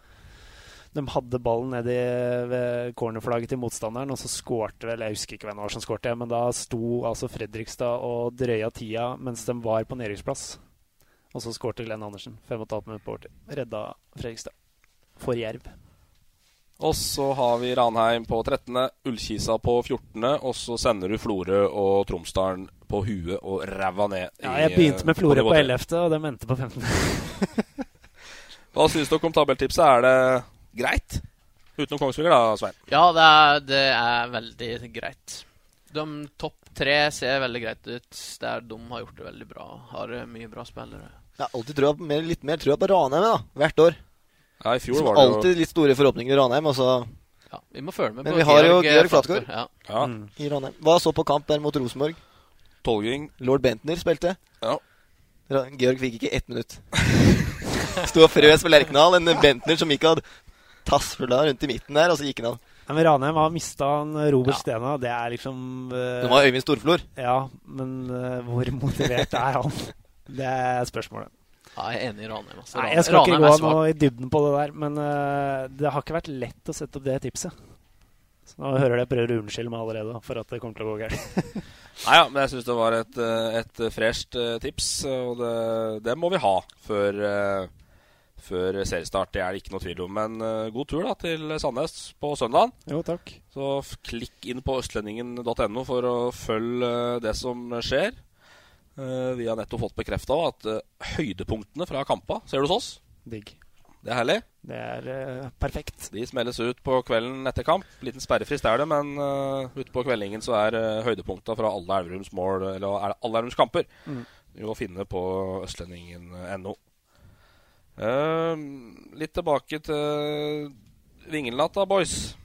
D: De hadde ballen nedi ved cornerflagget til motstanderen, og så skårte vel Jeg husker ikke hvem det var som skårte, men da sto altså Fredrikstad og drøya tida mens de var på nedrykksplass. Og så skårte Glenn Andersen. Fem og et halvt minutt på overtid. Redda Fredrikstad. For Jerv.
C: Og så har vi Ranheim på 13., Ullkisa på 14., og så sender du Florø og Tromsdalen på huet og ræva ned.
D: Ja,
C: i, eh,
D: jeg begynte med Florø på
C: nivå tre.
D: 11., og de endte på 15. (laughs)
C: Hva syns dere om tabelltipset? Er det greit? Utenom Kongsvinger, da, Svein.
E: Ja, det er, det er veldig greit. De topp tre ser veldig greit ut. Der de har gjort det veldig bra. Har eh, mye bra spillere.
G: Jeg har alltid trua på, mer, litt mer trua på Ranheim da, hvert år.
C: Ja, i fjor
G: Som
C: var det jo-
G: alltid litt store forhåpninger i Ranheim. og så-
E: Ja, vi må følge med
G: Men
E: på
G: vi har jo
E: Georg, eh,
G: Georg Flatgård
E: Flatgård, ja.
C: Ja.
G: i Ranheim. Hva så på kamp der mot Rosenborg?
C: Tolving.
G: Lord Bentner spilte.
C: Ja.
G: Ra- Georg fikk ikke ett minutt. (laughs) Sto og frøs på Lerkendal. En Bentner som ikke hadde tassfulla rundt i midten der, og så gikk han av.
D: Nei, men Ranheim har mista Robert Stena. Det er liksom eh,
G: Det var Øyvind Storflor.
D: Ja, men eh, hvor motivert er han? (laughs) Det er spørsmålet.
E: Ja, jeg er enig i Ranheim. Altså.
D: Nei,
E: Ran-
D: jeg skal ikke
E: Ranheim
D: gå
E: er
D: nå
E: svak.
D: i dybden på det der, men eh, det har ikke vært lett å sette opp det tipset. Så nå hører jeg dere prøver å unnskylde meg allerede for at det kommer til å gå gærent.
C: Nei ja, men jeg syns det var et, eh, et fresht eh, tips, og det, det må vi ha før, eh, før seriestart. Det er det ikke noe tvil om. Men eh, god tur da til Sandnes på søndag.
D: (laughs) jo, takk.
C: Så f- klikk inn på østlendingen.no for å følge eh, det som skjer. Eh, Vi har nettopp fått bekrefta at eh, høydepunktene fra kampa ser du hos oss.
D: Digg.
C: Det er herlig.
D: Det er eh, perfekt.
C: De smelles ut på kvelden etter kamp. Liten sperrefrist er det, men eh, ute på kveldingen så er uh, høydepunkta fra alle Elverums mål, eller er det alle Elverums kamper,
D: Mm.
C: jo å finne på østlendingen.no. Eh, litt tilbake til Vingelnatt, da, boys.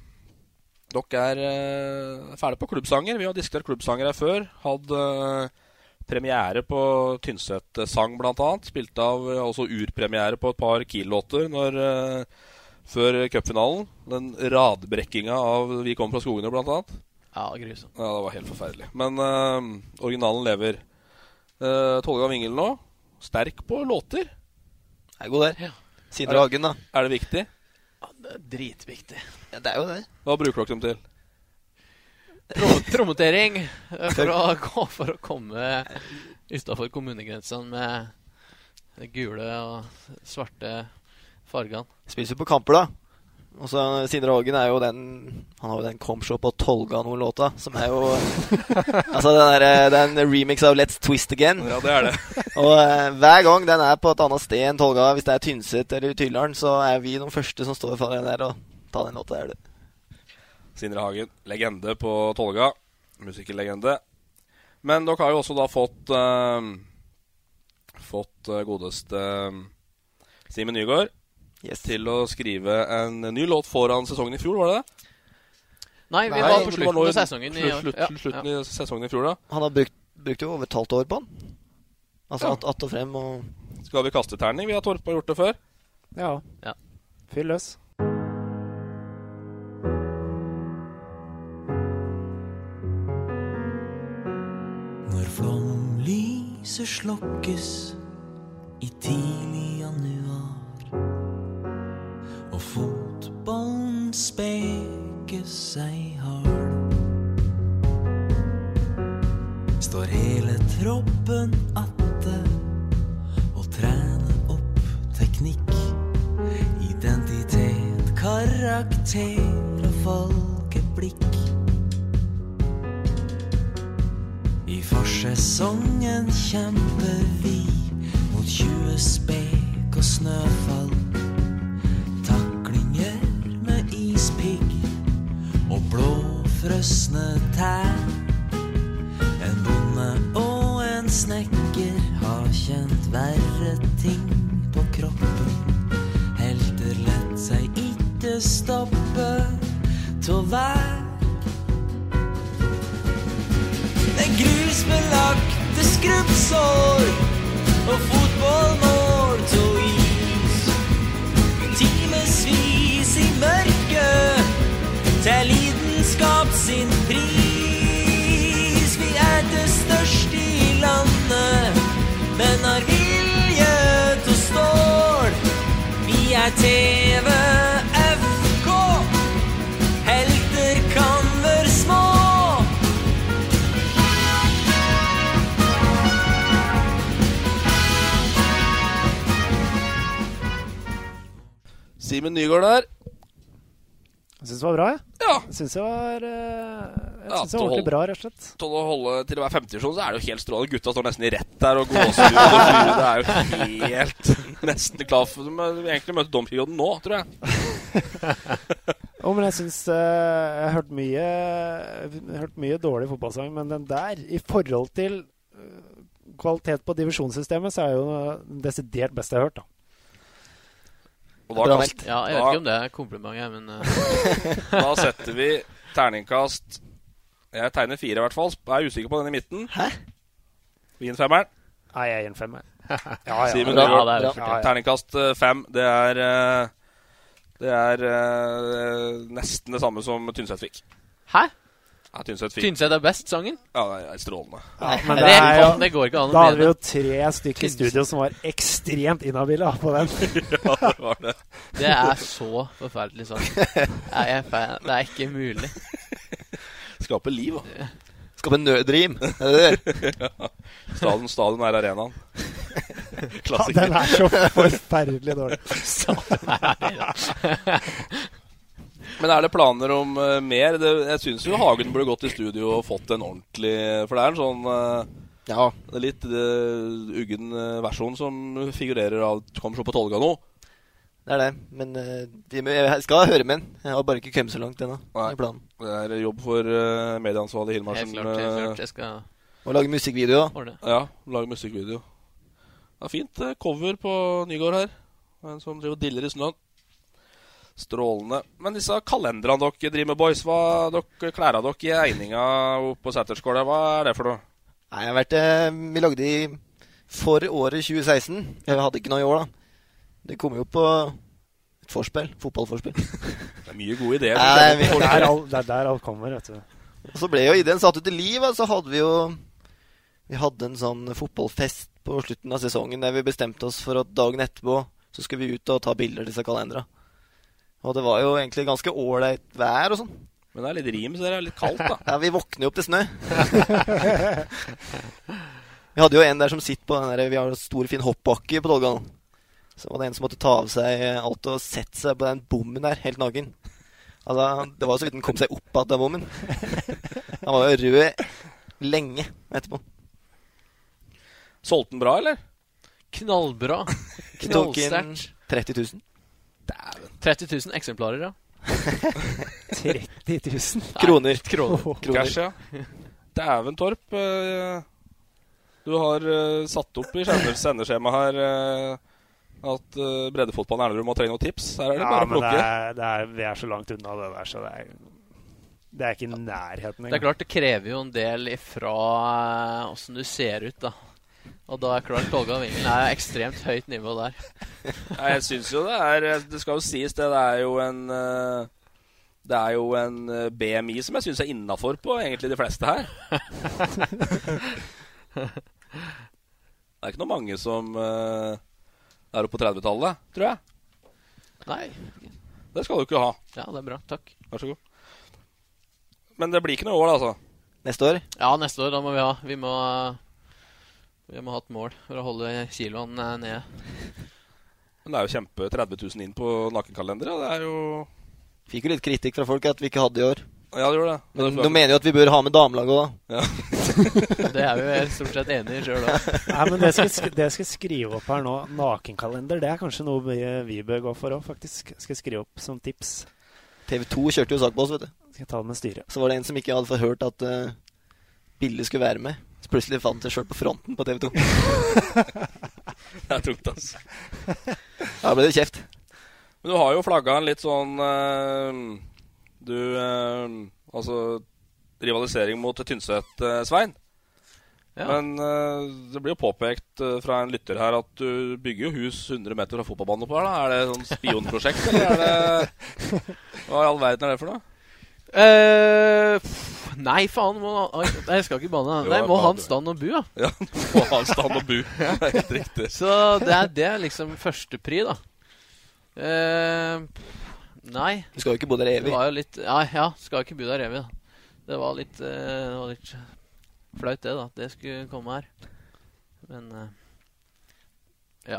C: Dere er uh, ferdig på klubbsanger. Vi har diskutert klubbsanger her før. Hadde eh, premiere på Tynset-sang, blant annet. Spilte av eh, også urpremiere på et par Kiel-låter når eh, før cupfinalen. Den radbrekkinga av Vi kommer fra skogene, blant annet.
E: Ja, grusomt.
C: Ja, det var helt forferdelig. Men eh, originalen lever. Uh, Tolga Vingel nå, sterk på låter.
G: Er god der.
E: Ja.
G: Sindre Hagen, da.
C: Er det viktig?
E: Det er dritviktig.
G: Ja, det er jo det.
C: Hva bruker dere dem til?
E: Prom promotering eh, for å, gå- for å komme utafor kommunegrensene med De gule og svarte fargene.
G: Spiser jo på kamper, da. Og så eh, Sindre Hagen er jo den Han har jo den Comshop og Tolgano-låta, som er jo Altså, den er, eh, det er en remix av Let's Twist Again.
C: Ja, det er det.
G: og eh, hver gang den er på et annet sted enn Tolga, hvis det er Tynset eller Tyldalen, så er vi de første som står foran der og tar den låta der, du.
C: Sindre Hagen, legende på Tolga. Musikerlegende. Men dere har jo også da fått eh, Fått eh, godeste eh, Simen Nygaard til å skrive en ny låt foran sesongen i fjor, var det det?
E: Nei, vi var på
C: det
E: slutten
C: nå i-
E: av sesongen i
C: slutt,
E: år.
C: slutt,
E: Ja,
C: slutten i sesongen i fjor, da.
G: Han har brukt, brukt jo over et halvt år på den. Altså
C: Ja.
G: att, att og frem og
C: Skal vi kaste terning? Vi har Torp har gjort det før.
D: Ja. Fyll løs.
H: Når flomlyset slukkes i tidlig januar og fotballen spekes seg hard, står hele troppen atte og trener opp teknikk, identitet, karakter og folkeblikk. I forsesongen kjemper vi mot 20 spek og snøfall. Taklinger med ispigg og blåfrosne tær. En bonde og en snekker har kjent verre ting på kroppen. Helter lett seg ikke stoppe tå vær. Det er grusbelagte skrubbsår og fotballmål og is. Timevis i mørket til lidenskap sin pris. Vi er det største i landet, men har vilje til stål. Vi er TV FK, helter kan være små.
C: Simen Nygaard der.
D: Jeg syns det var bra, jeg.
C: Ja.
D: Jeg syns det var, eh, jeg
C: Ja,
D: synes det var
C: tolv.
D: ordentlig bra, rett og slett.
C: Til å holde til å være 50-årsjon, så er det jo helt strålende. Gutta står nesten i rett der og gåsehud og flue. Det er jo helt nesten klar for De må egentlig møte domperioden nå, tror jeg.
D: Å, men jeg syns eh, Jeg har hørt mye jeg har hørt mye dårlig fotballsang, men den der, i forhold til eh, kvalitet på divisjonssystemet, så er jo den desidert beste jeg har hørt, da.
C: Og
E: Bra
C: da, kast,
E: valgt. Ja, jeg vet ikke om det er kompliment, jeg, men eh,
C: da setter vi terningkast Jeg tegner fire, i hvert fall. Jeg er usikker på den i midten. Hæ? Vi gir en femmeren.
D: Nei, jeg gir en femmer.
C: Simen
D: Bra.
C: Nygaard.
D: Ja, det er jo fortjent.
C: Terningkast eh, fem. Det er eh, Det er eh, nesten det samme som Tynset fikk.
E: Hæ?
C: Ja, Tynset fikk.
E: Tynset er best, sangen?
C: Ja, det er strålende. (laughs)
D: Ja, men
E: det,
D: det er jo,
E: det går ikke an å
D: da hadde vi
E: mene
D: jo tre stykker i studio som var ekstremt inhabile da, på den.
C: ja, det var det.
E: Det er så
D: (laughs)
E: forferdelig sang. Nei, jeg er fan. Det er ikke mulig.
C: Skaper liv, da.
G: Skape nødrim. Er det det?
C: ja. Stadion, stadion er arenaen. (laughs)
D: Ja, den er så forferdelig dårlig.
C: Stadion er arenaen. Men er det planer om eh, mer? Det, jeg syns jo Hagen burde gått i studio og fått en ordentlig For det er en sånn eh, det er litt eh, uggen eh, versjon som figurerer av Kom så på Tolga nå.
G: Det er det. Men eh, de, jeg skal høre med den. Jeg har bare ikke kommet så langt ennå. i planen.
C: Det er jobb for eh, medieansvarlig Hilmarsen.
E: Helt klart, helt
C: eh,
E: klart. Jeg skal
G: Og lage musikkvideo. da.
C: Ja, lage musikkvideo. Det er fint eh, cover på Nygård her. En som driver og diller i snøen. Strålende. Men disse kalenderne dere driver med, boys, hva dere klær av dere i eininga oppe på Sæterskåla, hva er det for noe?
G: Nei, jeg har vært, eh, vi lagde de for året 2016. Jeg hadde ikke noe i år, da. Det kom jo på et forspill. Fotballforspill. (laughs)
C: Det er mye gode ideer.
G: Nei,
D: Det
G: vi-
D: er all- det er der alt kommer, vet du.
G: Og så ble jo ideen satt ut i liv, og så hadde vi jo Vi hadde en sånn fotballfest på slutten av sesongen der vi bestemte oss for at dagen etterpå så skulle vi ut og ta bilder av disse kalendera. Og det var jo egentlig ganske ålreit vær og sånn.
C: Men det er litt rim, så det er litt kaldt, da.
G: ja, vi våkner jo opp til snø. Vi hadde jo en der som sitter på den der, Vi har en stor, fin hoppbakke på Dolgallen. Så var det en som måtte ta av seg alt og sette seg på den bommen der, helt naken. Altså, det var så vidt han kom seg opp av den bommen. Han var jo rød lenge etterpå.
C: Solgte den bra, eller?
E: Knallbra.
G: Vi tok inn
E: Knallsterkt.
G: 30 000.
E: 30 000 eksemplarer, ja.
G: 30 000? Kroner.
E: Nei, kroner. Kroner.
C: Cash, ja. Dæven, Torp. eh, Du har eh, satt opp i skjermer- sendeskjema her eh, at eh, breddefotballen i Elverum må trenge noen tips. Her er det
D: Ja,
C: bare å
D: men det
C: plukke.
D: er, det er, vi er så langt unna det der, så det er, det er ikke i nærheten
E: Det er
D: engang.
E: klart, det krever jo en del ifra eh, åssen du ser ut, da. Og da er klart Tolga Vingen er ekstremt høyt nivå der.
C: Nei, jeg syns jo det er eh, Det skal jo sies, det. Det er jo en eh, Det er jo en eh, BMI som jeg syns er innafor på egentlig de fleste her. Det er ikke noe mange som eh, er oppe på 30-tallet, tror jeg.
E: Nei.
C: Det skal du ikke ha.
E: Ja, det er bra. Takk.
C: Vær så god. Men det blir ikke noe i år, da, altså?
G: Neste år?
E: Ja, neste år. Da må vi ha Vi må, vi må ha et mål for å holde kiloen eh, nede.
C: Men det er jo kjempe 30 000 inn på nakenkalendere. Det er jo
G: Fikk jo litt kritikk fra folk at vi ikke hadde i år.
C: Ja, det gjorde det. Men
G: Men
C: det-
G: de mener jo at vi bør ha med damelaget
C: òg, da.
E: Det er vi jo stort sett enig i sjøl òg.
D: Nei, men det jeg, skal, sk- det jeg skal skrive opp her nå, nakenkalender, det er kanskje noe vi, vi bør gå for òg, faktisk. Skal jeg skrive opp som tips.
G: TV 2 kjørte jo sak på oss, vet du.
D: Skal jeg ta det med styret.
G: Så var det en som ikke hadde forhørt at eh, Bille skulle være med. Så plutselig fant jeg sjøl på fronten på TV 2.
C: (laughs) Det er tungt, altså.
G: Da ble det kjeft.
C: Men du har jo flagga en litt sånn eh, Du eh, Altså rivalisering mot Tynset, eh, Svein. Men eh, det blir jo påpekt eh, fra en lytter her at du bygger jo hus 100 meter fra fotballbanen oppå her. da. Er det sånn spionprosjekt, eller er
E: (laughs)
C: det Hva i all verden er det for noe?
E: Eh, pff, nei, faen. Må, oi, jeg skal ikke banne.
C: (laughs) Jo,
E: Nei,
C: jeg
E: må ha
C: banner.
E: en stand og bu, ja.
C: Ja, må ha en stand (laughs) og bu. Det er helt riktig.
E: Så det er, det er liksom førstepri, da. Eh, nei.
G: Du skal jo ikke bo der evig.
E: Det var jo litt, ja, ja, skal jo ikke bo der evig, da. Det var litt, eh, det var litt flaut, det, da. at Det skulle komme her. Men eh,
C: Ja,
E: ja.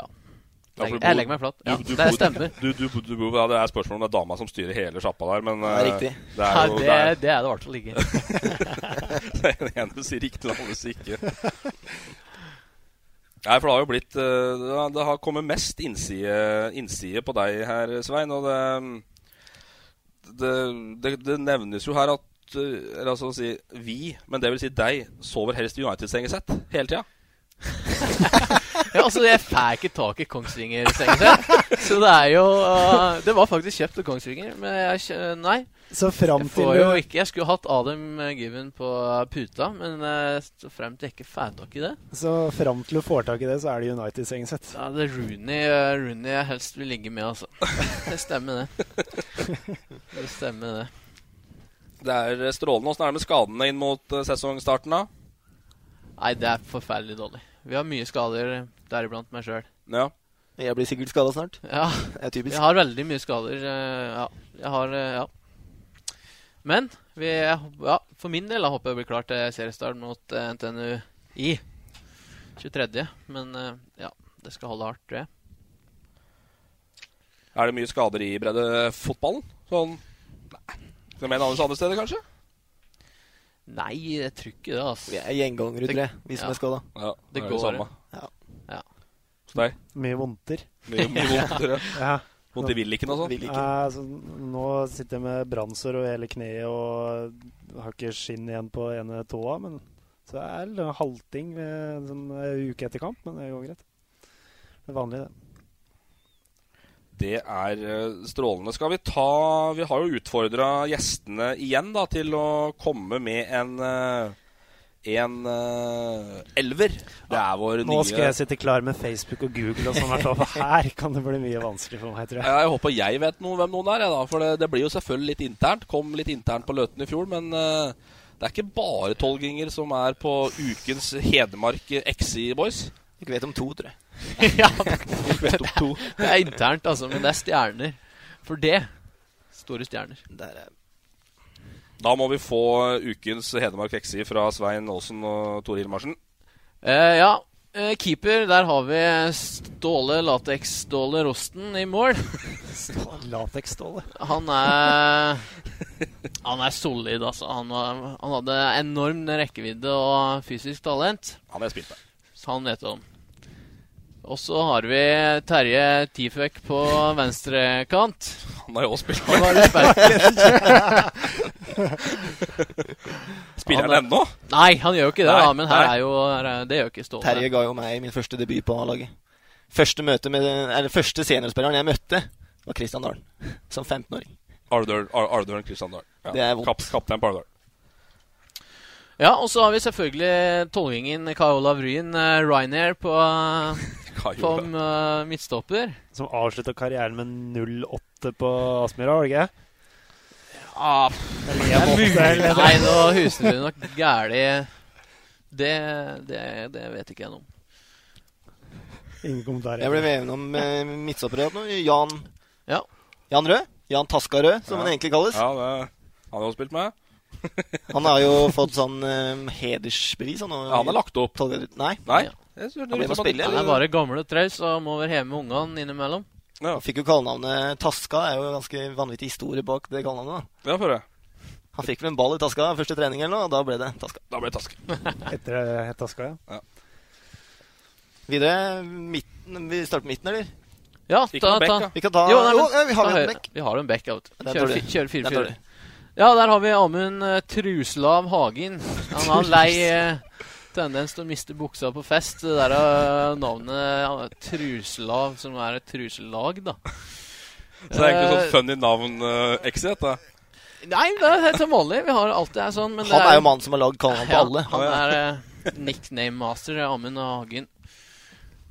C: for du
E: Jeg,
C: bor-
E: jeg legger meg flat. Ja,
C: du- du
E: det
C: bor-
E: stemmer.
C: Du, du, du, bor- ja, det er spørsmål om det er dama som styrer hele sjappa der, men
E: Ja,
C: eh,
E: riktig.
C: Det er
E: Ja,
C: jo,
E: det-
C: er-
E: det er det i hvert fall ikke.
C: (laughs) det er den ene sier riktig, den andre sier ikke. Nei, for det har jo blitt eh, Det har- det har kommet mest innside, innside på deg her, Svein, og det det, det, det nevnes jo her at eh, Eller altså å si vi, men det vil si deg, sover helst i United-sengesett hele tida.
E: Ja, altså, jeg får ikke tak i Kongsvinger-sengen selv. Så det er jo eh, Det var faktisk kjøpt til Kongsvinger, men jeg kjø- Nei.
D: Så fram
E: Jeg
D: til
E: får jo
D: du-
E: ikke Jeg skulle hatt Adam eh, Given på puta, men eh, så frem til jeg ikke får tak i det
D: Så fram til du får tak i det, så er det United-sengesett.
E: Ja, det er Rooney, eh, Rooney jeg helst vil ligge med, altså. Det stemmer, det. Det stemmer, det.
C: Det er strålende. Åssen er det med skadene inn mot eh, sesongstarten, da?
E: Nei, det er forferdelig dårlig. Vi har mye skader, deriblant meg sjøl.
C: Ja.
G: Jeg blir sikkert skada snart.
E: Ja.
G: Det er typisk.
E: Jeg har veldig mye skader. eh, Ja. Jeg har eh, Ja. Men vi, ja, for min del da håper jeg blir klar til seriestart mot eh, NTNU i 23. Men eh, ja, det skal holde hardt, tror jeg.
C: Er det mye skader i breddefotballen? Sånn Nei. Som en annen andre steder, kanskje?
E: Nei, jeg tror ikke det, altså.
G: Vi er gjengangere, tror jeg, vi som er skada.
C: Ja, det
E: det
C: er jo
E: går.
C: samme.
E: Ja. ja.
C: Så nei.
D: Mye vondter.
C: Mye- mye vondter, ja. Vondt i villiken og sånn?
D: Nei, altså, nå sitter jeg med brannsår over hele kneet og har ikke skinn igjen på ene tåa. Men så det er en halting ved, sånn, en uke etter kamp, men det går greit. Det er vanlig, det.
C: Det er eh, strålende. Skal vi ta Vi har jo utfordra gjestene igjen da til å komme med en eh, en eh, elver. Det er vår nye
D: Nå skal jeg sitte klar med Facebook og Google og sånn. hvert fall, for Her kan det bli mye vanskelig for meg, tror jeg.
C: Ja, jeg håper jeg vet noe, hvem noen er, jeg da. For det, det blir jo selvfølgelig litt internt. Kom litt internt på Løten i fjor, men eh, det er ikke bare tolvginger som er på ukens Hedmark eh, XI Boys.
G: Ikke vet om to, tror jeg.
E: (laughs) ja.
C: vet om to.
E: Det er internt, altså, men det er stjerner. For det store stjerner.
C: Da må vi få eh, ukens Hedmark XI fra Svein Aasen og Tore Hilmarsen.
E: Eh, ja, eh, keeper, der har vi Ståle Lateks-Ståle Rosten i mål.
D: Lateks-Ståle?
E: Han er Han er solid, altså. Han, var, han hadde enorm rekkevidde og fysisk talent.
C: Han har jeg spilt med.
E: Så han vet om. Og så har vi Terje Tiføk på venstrekant.
C: Han har jo også spilt
E: Han
C: med.
E: har jo spilt.
C: (laughs) Spiller han ennå?
E: Nei, han gjør jo ikke det.
G: Nei,
E: da, men her
G: nei.
E: er jo, her er, det gjør ikke Ståle.
G: Terje ga jo meg min første debut på A-laget. Første, møte med, eller første seniorspilleren jeg møtte, var Christian Dahlen. Som 15-åring.
C: Ardøren Ar Ardøren Kristian Dahl. Ja.
G: Det er vondt.
C: Kap, kaptein på Ardøl.
E: Ja, og så har vi selvfølgelig tolvingen Kai Olav Ryen, eh, Ryanair på,
C: (laughs) Kai
E: på eh, midtstopper.
D: Som avslutta karrieren med 0-8 på Aspmyra, var det ikke?
E: Ah,
D: Eller en åtte, eller-
E: Nei, nå huser du nok gæli. Det, det, det vet ikke jeg noe om.
D: Ingen kommentarer.
G: Jeg ble vevet om eh, midtstoppere nå. Jan
E: ja.
G: Jan Rød. Jan Taska Rød, som
C: Ja.
G: han egentlig kalles.
C: Ja, det, han har jo spilt med.
G: Han har jo fått sånn eh, hedersbevis. Han, og-
C: Ja, han er lagt opp.
G: Tolv- Nei.
C: Nei. Jeg synes det virker
G: Han ble med å
C: som at-
G: spille,
E: Han
G: eller?
E: er bare gammel og traus og må være hjemme med ungene innimellom.
G: Han fikk jo kallenavnet Taska. Det er jo en ganske vanvittig historie bak det kallenavnet.
C: da. Ja, får jeg.
G: Han fikk vel en ball i taska første trening, eller noe, og da ble det Taska.
C: Da ble det Taska.
D: Etter eh, Hetaska, ja.
G: Videre midten, Vi starter på midten, eller?
E: Ja,
G: Ikke noe bekk, da. Vi kan ta-
E: nei,
G: Jo,
E: men-
G: ja, vi har
E: ta
G: vel en
E: høyre.
G: bekk.
E: Vi har en bekk, ja, vet du.
G: Den tar
E: Kjør
G: du.
E: fi- Kjør
G: Den tar
E: 4-4. Ja, der har vi Amund eh, Truslav Hagen. Han har en
G: (laughs)
E: lei eh, tendens til å miste buksa på fest. Det der eh, navnet ja, Truslav, som er et truselag, da.
C: Så det er egentlig
E: Eh,
C: sånn funny navn-exit, dette.
E: Nei, det er helt som vanlig. Vi har alltid er sånn. Men det
G: Han er jo mannen som har lagd kallenavn på
E: ja,
G: alle.
E: Han er eh, nickname master, Amund Hagen.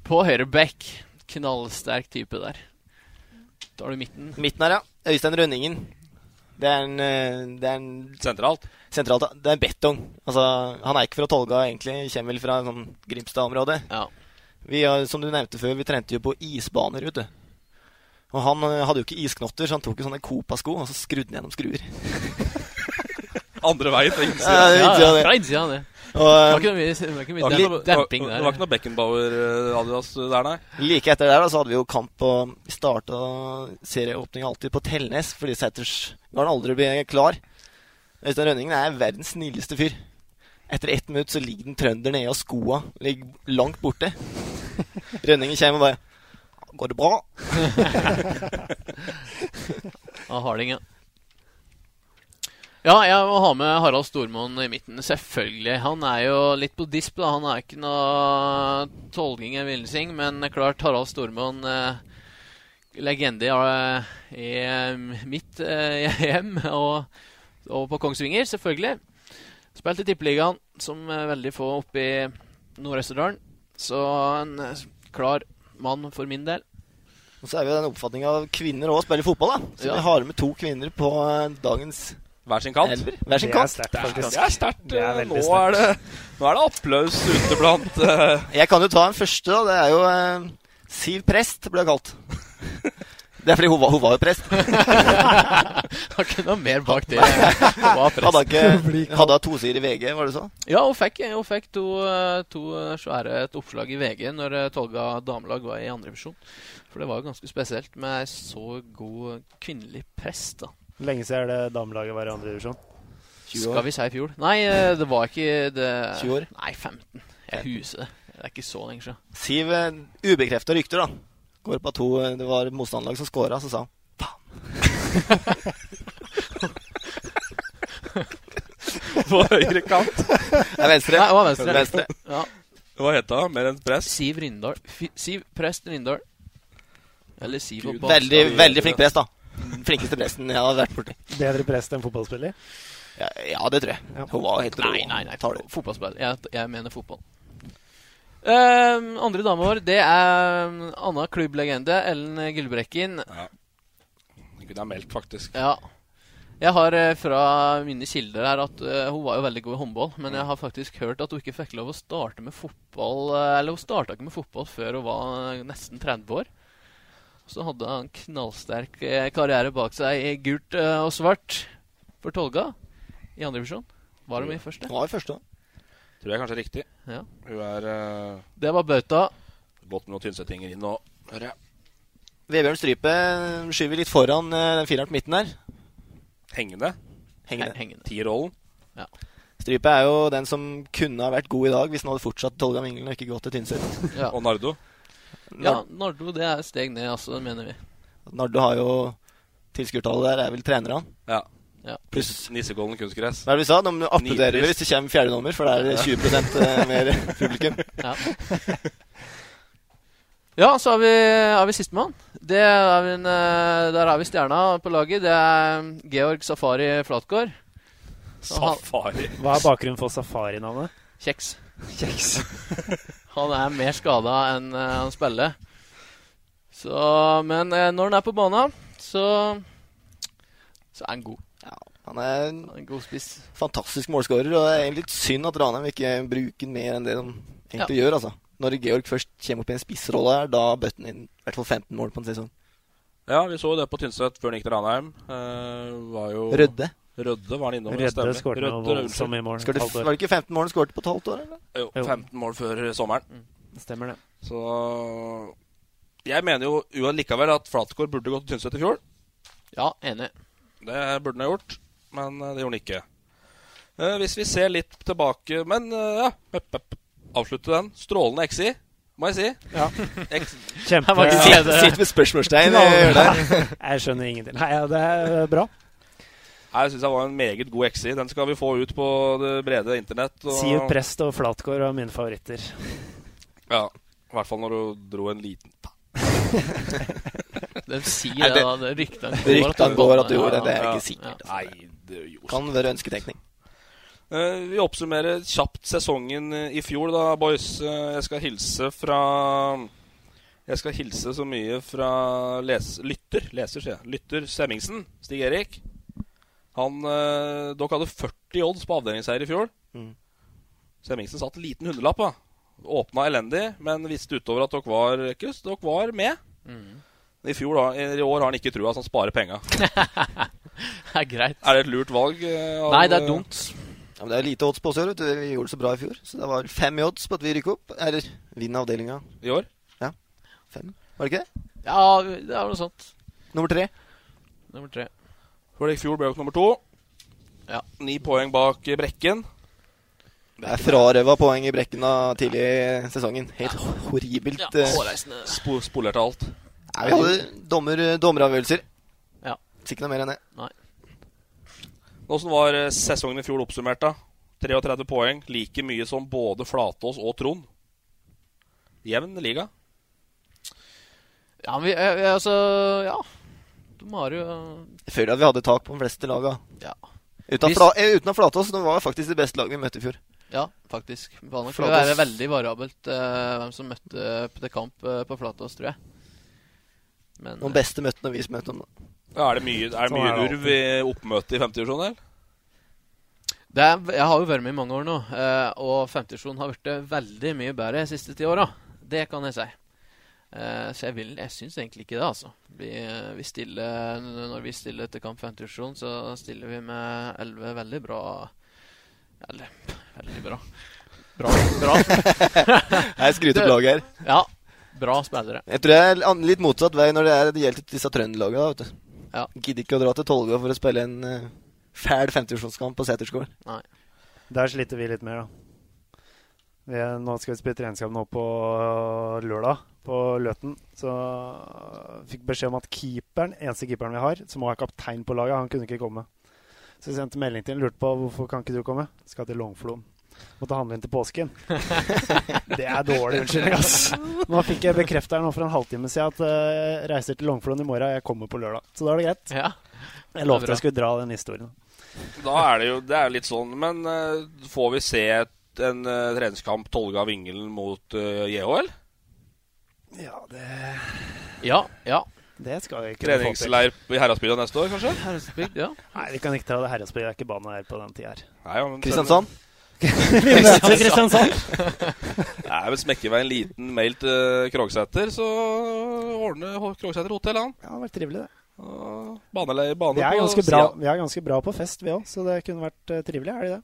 E: På høyre back. Knallsterk type der. Da har du midten.
G: Midten her, ja. Øystein Rønningen. Det er en, eh, det er en
C: Sentralt?
G: Sentralt, ja. Det er Betong. Altså, han er ikke fra Tolga, egentlig. Kommer vel fra sånn Grimstad-området. Vi, har- som du nevnte før, vi trente jo på isbaner, vet du. Og han eh, hadde jo ikke isknotter, så han tok jo sånne Copa-sko, og så skrudde han gjennom skruer.
C: Andre veien. fra innsida.
G: Ja, det er sånn- Um, innsida, det.
E: Fra innsida, det.
G: Og, eh,
E: det var ikke noe mye, det var ikke
C: Det
E: mye
C: var
E: demp-
C: ikke noe-
E: demping
C: Det
E: der.
C: var ikke noe Beckenbauer-Adidas eh, der, nei.
G: Like etter der da, så hadde vi jo kamp på Vi starta serieåpninga alltid på Telnes, fordi Sæters Garden aldri ble klar. Øystein Rønningen er verdens snilleste fyr. Etter ett minutt så ligger den trønder nede, og skoa ligger langt borte. Rønningen kommer og bare 'Går det bra?'
E: Av Harding, ja. Ja, jeg må ha med Harald Stormoen i midten, selvfølgelig. Han er jo litt på disp, da. Han er ikke noe tolking eller villsing, men det er klart Harald Stormoen eh, Legende eh, i eh, mitt eh, (laughs) hjem og, og på Kongsvinger, selvfølgelig. Spilt i Tippeligaen, som eh, veldig få oppe i Nord-Østerdalen. Så en eh, klar mann for min del.
G: Og så er vi jo den oppfatninga av kvinner òg spiller fotball, da. Så
E: Ja.
G: vi har med to kvinner på eh, dagens
C: Hver sin kant.
G: Elver. Hver sin
C: Det er
G: kant.
C: sterkt, faktisk. Det er sterkt. Det er veldig Nå er det- nå er det applaus ute blant eh,
G: Jeg kan jo ta en første, da. Det er jo eh, Siv Prest, ble hun kalt.
E: (laughs)
G: Det er fordi hun var, hun var jo prest.
E: Har ikke noe mer bak det. Hun var prest.
G: Hadde hun
E: (laughs)
G: ikke- hadde hun tosider i VG, var det sånn?
E: Ja, hun fikk, hun fikk to, eh, to eh, svære et oppslag i VG når eh, Tolga damelag var i andre divisjon. For det var jo ganske spesielt med ei så god kvinnelig prest, da.
D: Lenge siden er det damelaget var i andre divisjon.
E: Skal vi si i fjor? Nei, eh, det var ikke det
G: 20 år?
E: Nei, 15. Jeg huser det. Det er ikke så lenge siden.
G: Siv eh, ubekrefta rykter, da. Går på to eh, Det var motstanderlag som scora, så sa han
C: (laughs) på høyre kant.
G: Nei, venstre.
E: Nei, det var venstre.
G: Venstre.
E: Ja.
C: Hva het hun? Mer enn press?
E: Siv Rindal. Fi- Siv Prest Rindal. Eller Siv og Bakstad.
G: Veldig, veldig flink prest, da. Den Flinkeste presten jeg har vært borti.
D: Bedre prest enn fotballspiller.
G: Ja, ja, det tror jeg. Hun var helt rå.
E: Nei, nei, nei. Fotballspiller. Jeg, jeg mener fotball. Ehm, andre dame vår, det er um, Anna klubblegende, Ellen Gulbrekken.
C: Ja. Hun kunne jeg meldt, faktisk.
E: Jeg har eh, fra mine kilder her at eh, hun var jo veldig god i håndball, men jeg har faktisk hørt at hun ikke fikk lov å starte med fotball eh, Eller hun starta ikke med fotball før hun var eh, nesten 30 år. Så hadde hun en knallsterk eh, karriere bak seg i gult eh, og svart for Tolga i andre divisjon. Var hun i første?
G: Var i første,
C: Tror jeg kanskje er riktig.
E: Ja.
C: Hun er eh,
E: Det var bauta.
C: Godt med noen tynsettinger inn og hører jeg.
G: Vebjørn Strype skyver litt foran eh, den fireren på midten her.
C: Hengende.
G: Hengende.
C: Tierrollen.
E: Ja.
G: Strype er jo den som kunne ha vært god i dag hvis han hadde fortsatt Tolga Minglen og ikke gått til Tynset.
E: Ja.
C: Og Nardo.
E: Ja, Nardo det er steg ned, altså, mener vi.
G: Nardo har jo Tilskuertallet der er vel trenere, han.
C: Ja.
E: Ja.
C: Pluss Nissekollen kunstgress.
G: Hva er det vi sa? Nå applauderer vi
C: Nitrist.
G: hvis det kommer fjerde nummer, for da er det 20 mer publikum.
E: Ja. (laughs) Ja, så er vi, er vi sistemann. Det er vi en, eh, Der er vi stjerna på laget. Det er Georg Safari Flatgård. Og han-
C: Safari.
D: Hva er bakgrunnen for Safari-navnet?
E: Kjeks. (laughs) han er mer skada enn eh, han spiller. Så, men eh, når han er på banen, så, så er han god.
G: Han er en
E: god spiss.
G: fantastisk målskårer, og det er egentlig litt synd at Ranheim ikke bruker den mer enn det de egentlig gjør. altså. Når Georg først kommer opp i en spissrolle her, da bøtter han inn i hvert fall 15 mål på en sesong.
C: Ja, vi så jo det på Tynset før han gikk til Ranheim. Eh, var jo
G: Rødde.
C: Rødde var han innom.
D: Rødde
C: stemmer.
D: skårte noe
C: Rødde,
D: voldsomt
C: unnskyld.
D: i mål.
G: Skal det, var det ikke 15 mål han skåret på et halvt år? eller?
C: Jo,
D: Jo.
C: 15 mål før sommeren.
D: Stemmer det.
C: Så jeg mener jo uallikevel at Flatgård burde gått til Tynset i fjor.
E: Ja, enig.
C: Det burde han ha gjort, men eh, det gjorde han ikke. Eh, hvis vi ser litt tilbake Men eh, ja, høpp, høpp. avslutte den. Strålende XI, må jeg si.
D: Ja.
C: X,
D: Kjempe...
C: Jeg var ikke
D: Ja.
C: sitt- sitt med spørsmålstegn
D: Knall-
C: i øret.
D: Jeg skjønner ingenting. Nei, ja, det er eh, bra.
C: Nei, Jeg syns det var en meget god XI. Den skal vi få ut på det brede internett. og-
D: Sivert Prest og Flatgård var mine favoritter.
C: Ja, I hvert fall når du dro en liten
E: De sier
C: Nei,
E: det, da. Det ryktene
G: Ryktene går at du gjorde det. Det er
C: Ja,
G: ikke sikkert.
C: ja. Nei, det gjorde
G: Kan være ønsketenkning.
C: Eh, Vi oppsummerer kjapt sesongen eh, i fjor, da, boys. Eh, Jeg skal hilse fra Jeg skal hilse så mye fra les, lytter Leser, sier jeg. Lytter Semmingsen. Stig Erik. Han eh, Dere hadde 40 odds på avdelingsseier i fjor.
G: Mm.
C: Semmingsen satt en liten hundrelapp. da. Åpna elendig, men visste utover at dere var Kus, dere var med.
E: Mm.
C: I fjor da, i år har han ikke trua, så han sparer penga.
E: Det er greit.
C: Er det et lurt valg? eh, av-
E: Nei, det er dumt.
G: Ja, men det er lite odds på oss i år. vet du. Vi gjorde det så bra i fjor. Så det var fem i odds på at vi rykker opp. Eller vinner avdelinga.
C: I år?
G: Ja. Fem, var det ikke det?
E: Ja, det er noe sånt.
G: Nummer tre.
E: Nummer tre.
C: For i fjor ble dere nummer to.
E: Ja.
C: Ni poeng bak eh, Brekken.
G: Det er frarøva poeng i brekken av tidlig i sesongen. Helt horribelt. eh.
C: Spo spolerte alt.
G: Nei, vi hadde dommer, eh, dommeravgjørelser.
E: Ja.
G: Ikke noe mer enn det.
C: Åssen var eh, sesongen i fjor oppsummert, da? 33 poeng, like mye som både Flatås og Trond. Jevn liga.
E: Ja, men vi, eh, vi- altså Ja. De har jo eh,
G: Jeg føler at vi hadde tak på de fleste laga.
E: Ja.
G: Uten,
E: Hvis-
G: fla, eh, uten å flate oss, det var faktisk det beste laget vi møtte i fjor.
E: Ja, faktisk. Det var nok
G: Flatås.
E: det være veldig variabelt eh, hvem som møtte på til kamp eh, på Flatås, tror jeg. Men
G: De beste møtte når vi møtte dem. da.
C: Ja, er det mye, er det
G: Sånn
C: mye
G: er det
C: urv i oppmøtet i 50 divisjon, eller?
E: Det er, jeg har jo vært med i mange år nå, eh, og 50-sjonen har blitt veldig mye bedre de siste ti åra. Det kan jeg si. Eh, så jeg, vil, jeg syns egentlig ikke det, altså. Vi, eh, vi stiller, når vi stiller til kamp 50-sjonen, så stiller vi med 11 veldig bra Eller veldig bra. Bra. bra.
G: Jeg skryter på laget her.
E: (laughs) Ja. Bra spillere.
G: Jeg tror jeg er an- litt motsatt vei når det, er, det gjelder disse trønderlaga. da, vet du.
E: Ja.
G: Gidder ikke å dra til Tolga for å spille en eh, fæl 50-årskamp på Seterskolen.
E: Nei.
D: Der sliter vi litt mer, da. Vi, er- nå skal vi spille treningskamp nå på øh, lørdag på Løten. Så øh, fikk beskjed om at keeperen, eneste keeperen vi har, som også er kaptein på laget, han kunne ikke komme. Så jeg sendte melding til han, lurte på hvorfor kan ikke du komme. Skal til Longflon. Måtte handle inn til
E: (laughs)
D: påsken. det er dårlig unnskyldning, ass. Nå fikk jeg bekrefta her nå for en halvtime siden at øh, jeg reiser til Longflon i morgen, jeg kommer på lørdag. Så da er det greit.
E: Ja.
D: Jeg lovte
E: Det er bra.
D: jeg skulle dra den historien.
C: Da er det jo det er litt sånn. Men eh, får vi se et- en eh, treningskamp Tolga-Vingelen mot eh, JHL?
D: Ja, det,
E: Ja. ja.
D: det skal vi kunne få til.
C: Treningsleir i Heradsbygda neste år, kanskje?
E: Herresbygd, ja.
D: Nei, vi kan ikke ta det herresbygd. Det er ikke bane her på den tida her.
C: Nei, ja, men-
G: Kristiansand?
D: Vi møter Kristiansand.
C: Nei, men Smekker vi en liten mail til Krogsæter, så ordner H- Krogsæter hotell, han.
D: Ja, det har vært trivelig, det.
C: Og Banelei, bane
D: Vi er
C: på
D: ganske bra,
C: siden.
D: vi er ganske bra på fest, vi òg, så det kunne vært eh, trivelig, er det det?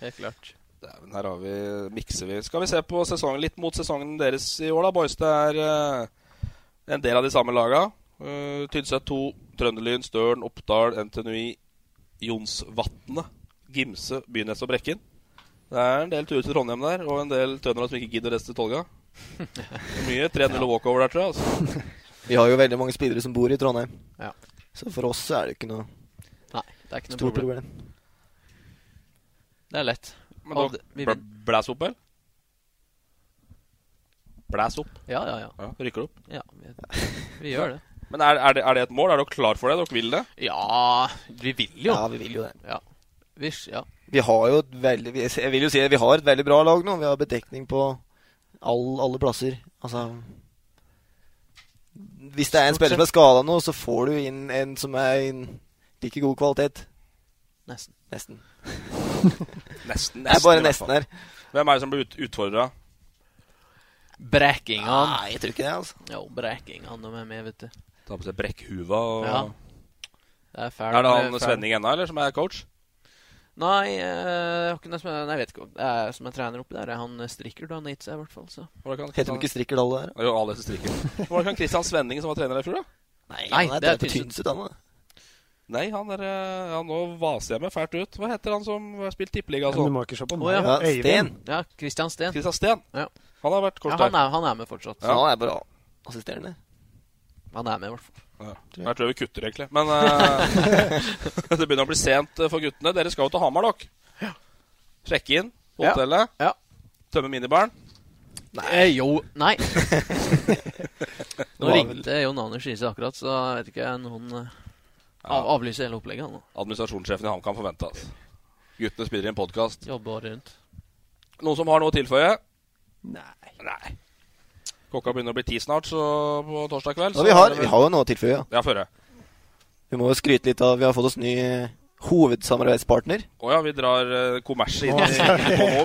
E: Helt klart.
C: Dæven, her har vi, mikser vi. Skal vi se på sesongen, litt mot sesongen deres i år, da, boys. Det er eh, en del av de samme laga. Eh, Tynset 2, Trønderlyn, Støren, Oppdal, NTNUI, Jonsvatnet, Gimse, Bynes og Brekken. Det er en del turer til Trondheim der, og en del trøndere som ikke gidder å reise til Tolga. Mye 3-0 og walkover der, tror jeg. Altså.
G: Vi har jo veldig mange spillere som bor i Trondheim.
E: Ja.
G: Så for oss så er det ikke noe
E: Nei, det er ikke noe
G: stort
E: problem.
G: problem.
E: Det er lett.
C: Men da
E: Og det- vi-
C: bl blæs opp, vel? Blæs opp.
E: Ja, ja, ja.
C: rykker opp.
E: Ja, vi, vi gjør det.
C: Men er, er, det, er det et mål? Er dere klar for det? Dere vil det?
E: Ja, vi vil jo.
G: Ja, vi vil jo det.
E: Ja. Visst, ja.
G: Vi har jo et veldig vi- Jeg vil jo si at vi har et veldig bra lag nå. Vi har bedekning på all, alle plasser. Altså Hvis det er en
E: Stort
G: spiller som
E: sett.
G: er skada nå, så får du inn en som er i en like god kvalitet.
E: Nesten.
G: Nesten.
C: Nesten. nesten
G: Det er bare
C: i hvert fall.
G: nesten her.
C: Hvem er det som blir ut, utfordra?
E: Brekkingan.
G: Nei, jeg tror ikke det, altså.
E: Ah. Jo, Brekkingan de er med, vet du.
C: Ta på seg brekkhuva og
E: Ja. Det er fælt.
C: Er det han
E: med- fælt.
C: Svenning ennå, eller, som er coach?
E: Nei, eh, jeg har ikke noe som er- nei, jeg vet ikke. om- Det er som er trener oppi der. er Han eh, strikker, da. Han har gitt seg, i hvert fall. Så.
G: Heter de ikke Strikkerdal der?
C: Jo, alle heter Strikker. Var det ikke han Christian Svenning som var trener i fjor, da?
G: Nei,
E: Nei,
G: han er
E: det er
G: på
E: Tynset.
G: Tynset, han da.
C: Nei, han er eh, Ja, nå vaser jeg meg fælt ut. Hva heter han som har spilt tippeliga og
D: Men du
C: sånn?
D: må ikke se på
E: Å,
D: meg.
E: ja.
G: Ja,
D: Øyvind.
G: Sten.
E: Ja, Christian Steen.
C: Christian Steen.
E: Ja.
C: Han har vært
E: Ja,
C: coach
E: han,
C: der.
E: er, han er med fortsatt.
G: Så han er bare assisterende.
E: Han er med, i hvert fall.
C: Ja. Jeg tror vi kutter, egentlig. Men eh, (laughs) det begynner å bli sent eh, for guttene. Dere skal jo til Hamar, dere. Sjekke inn på
E: Ja.
C: hotellet.
E: Ja.
C: Tømme minibaren.
E: Nei. Eh, jo Nei. (laughs) Nå
G: var
E: ringte Jon Anders Riise akkurat, så jeg vet ikke Noen eh, av, avlyser hele opplegget. Han, da.
C: Administrasjonssjefen i HamKam forventa. Altså. Guttene spiller i en podkast.
E: Jobber året rundt.
C: Noen som har noe å tilføye? Nei. Klokka begynner å bli ti snart, så på torsdag kveld.
G: Ja,
C: så
G: vi,
C: er
G: har,
C: det
G: vi
C: vel-
G: har jo noe å tilføye. ja.
C: Ja, føre.
G: Vi må jo skryte litt av Vi har fått oss ny eh, hovedsamarbeidspartner.
C: Å ja, vi drar eh, kommerset inn i (laughs) på nå.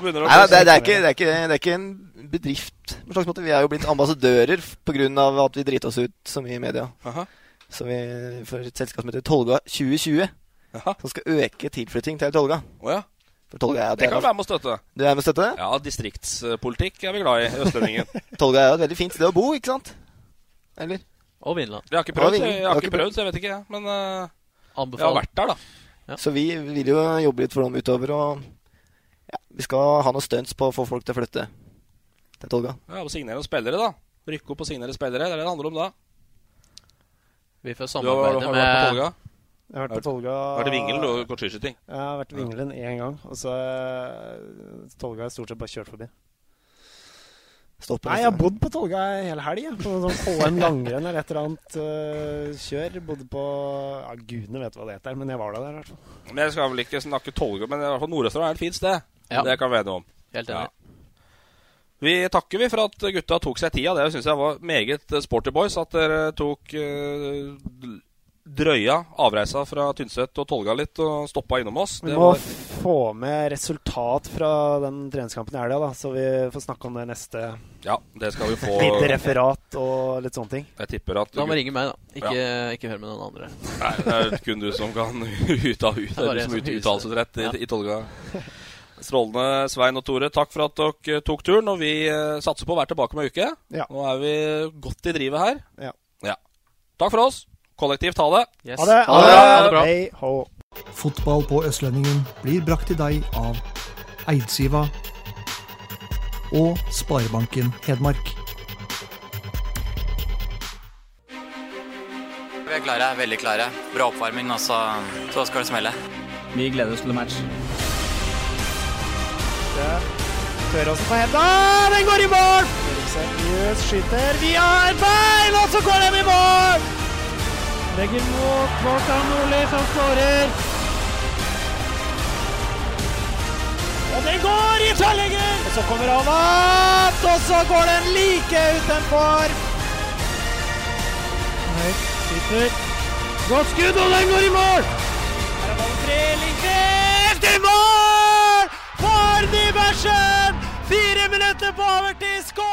C: begynner det
G: Nei,
C: å
G: det, det, er ikke, det, er ikke, det er ikke en bedrift. På en slags måte. Vi er jo blitt ambassadører pga. at vi driter oss ut så mye i media.
C: Aha.
G: Så vi får et selskap som heter Tolga 2020,
C: Jaha.
G: som skal øke tilflytting til Tolga.
C: Å ja.
G: For Tolga er, jo
C: Det
G: et
C: kan
G: jævla-
C: være med å støtte.
G: du er med og støtter det?
C: Ja, distriktspolitikk er vi glad i, østlendingen.
G: Tolga er jo et veldig fint sted å bo, ikke sant? Eller?
E: Og Vinland.
C: Jeg har ikke
G: Ja,
C: prøvd,
G: vi-
C: så jeg, jeg
G: vi har
C: har
G: ikke
C: ikke prøvd, så jeg vet ikke. jeg. Men eh, jeg har
E: Anbefaler.
C: vært der, da.
G: Så vi vil jo jobbe litt for dem utover, og ja, vi skal ha noen stunts på å få folk til å flytte til Tolga.
C: Ja, og Signere noen spillere, da. Rykke opp og signere spillere. Det er det det handler om da.
E: Vi får
C: Du har, har du
E: samarbeide
C: vært på
E: med
C: Tolga.
D: Jeg har vært på Tolga
C: Har vært i Vingelen og gått skiskyting.
D: Ja, Jeg har vært i Vingelen én gang. Og så eh, Tolga har jeg stort sett bare kjørt forbi.
G: Stopp på
D: Nei,
G: neste
D: jeg har
G: gang.
D: bodd på Tolga hele helga. På noen sånn KM langrenn eller et eller annet eh, kjør. Bodde på Ja, gudene vet hva det heter, men jeg var da der i hvert fall.
C: Men jeg skal vel ikke snakke Tolga, men i hvert fall Nord-Østerdal er et fint sted.
E: Ja.
C: Det kan vi være enige om.
E: Helt enig.
C: Vi takker vi for at gutta tok seg tida. Det syns jeg var meget eh, sporty boys. At dere tok eh, d- drøya avreisa fra Tynset og Tolga litt og stoppa innom oss.
D: Vi
C: Det
D: må
C: var,
D: få med resultat fra den treningskampen i helga, da, så vi får snakke om det neste.
C: ja, det skal vi få.
D: Lite referat og litt sånne ting.
C: Jeg tipper at
E: Da må ringe meg, da. Ikke, ikke hør med noen andre.
C: Nei, det er kun du som kan (laughs) uttale ut,
E: Det er bare
C: du
E: jeg
C: som
E: som
C: ut,
E: huser.
C: uttalelsesrett i,
E: Ja.
C: i Tolga. Strålende, Svein og Tore. Takk for at dere tok turen. Og vi eh, satser på å være tilbake om ei uke.
D: Ja.
C: Nå er vi godt i drivet her.
D: Ja.
C: Takk for oss. Kollektivt ha det.
E: Yes.
D: Ha det!
E: Ha det, ha det bra.
D: Hei, ho.
A: Fotball på Østlendingen blir brakt til deg av Eidsiva og Sparebanken Hedmark.
B: Vi er klare, veldig klare. Bra oppvarming, og så, så skal det smelle.
I: Vi gleder oss til match.
D: Tøråsen på henda, Ah, den går i mål! Seriøs skyter via et bein, og så går den i mål! Legger mot Kvartan Nordli, som skårer. Og den går i tverrlegger! Og så kommer han opp, og så går den like utenfor. Høyt skyter. Godt skudd, og den går i mål! Her er ballen tre, Lindqvist i mål! For Nybergsen! Fire minutter på overtid, skåring!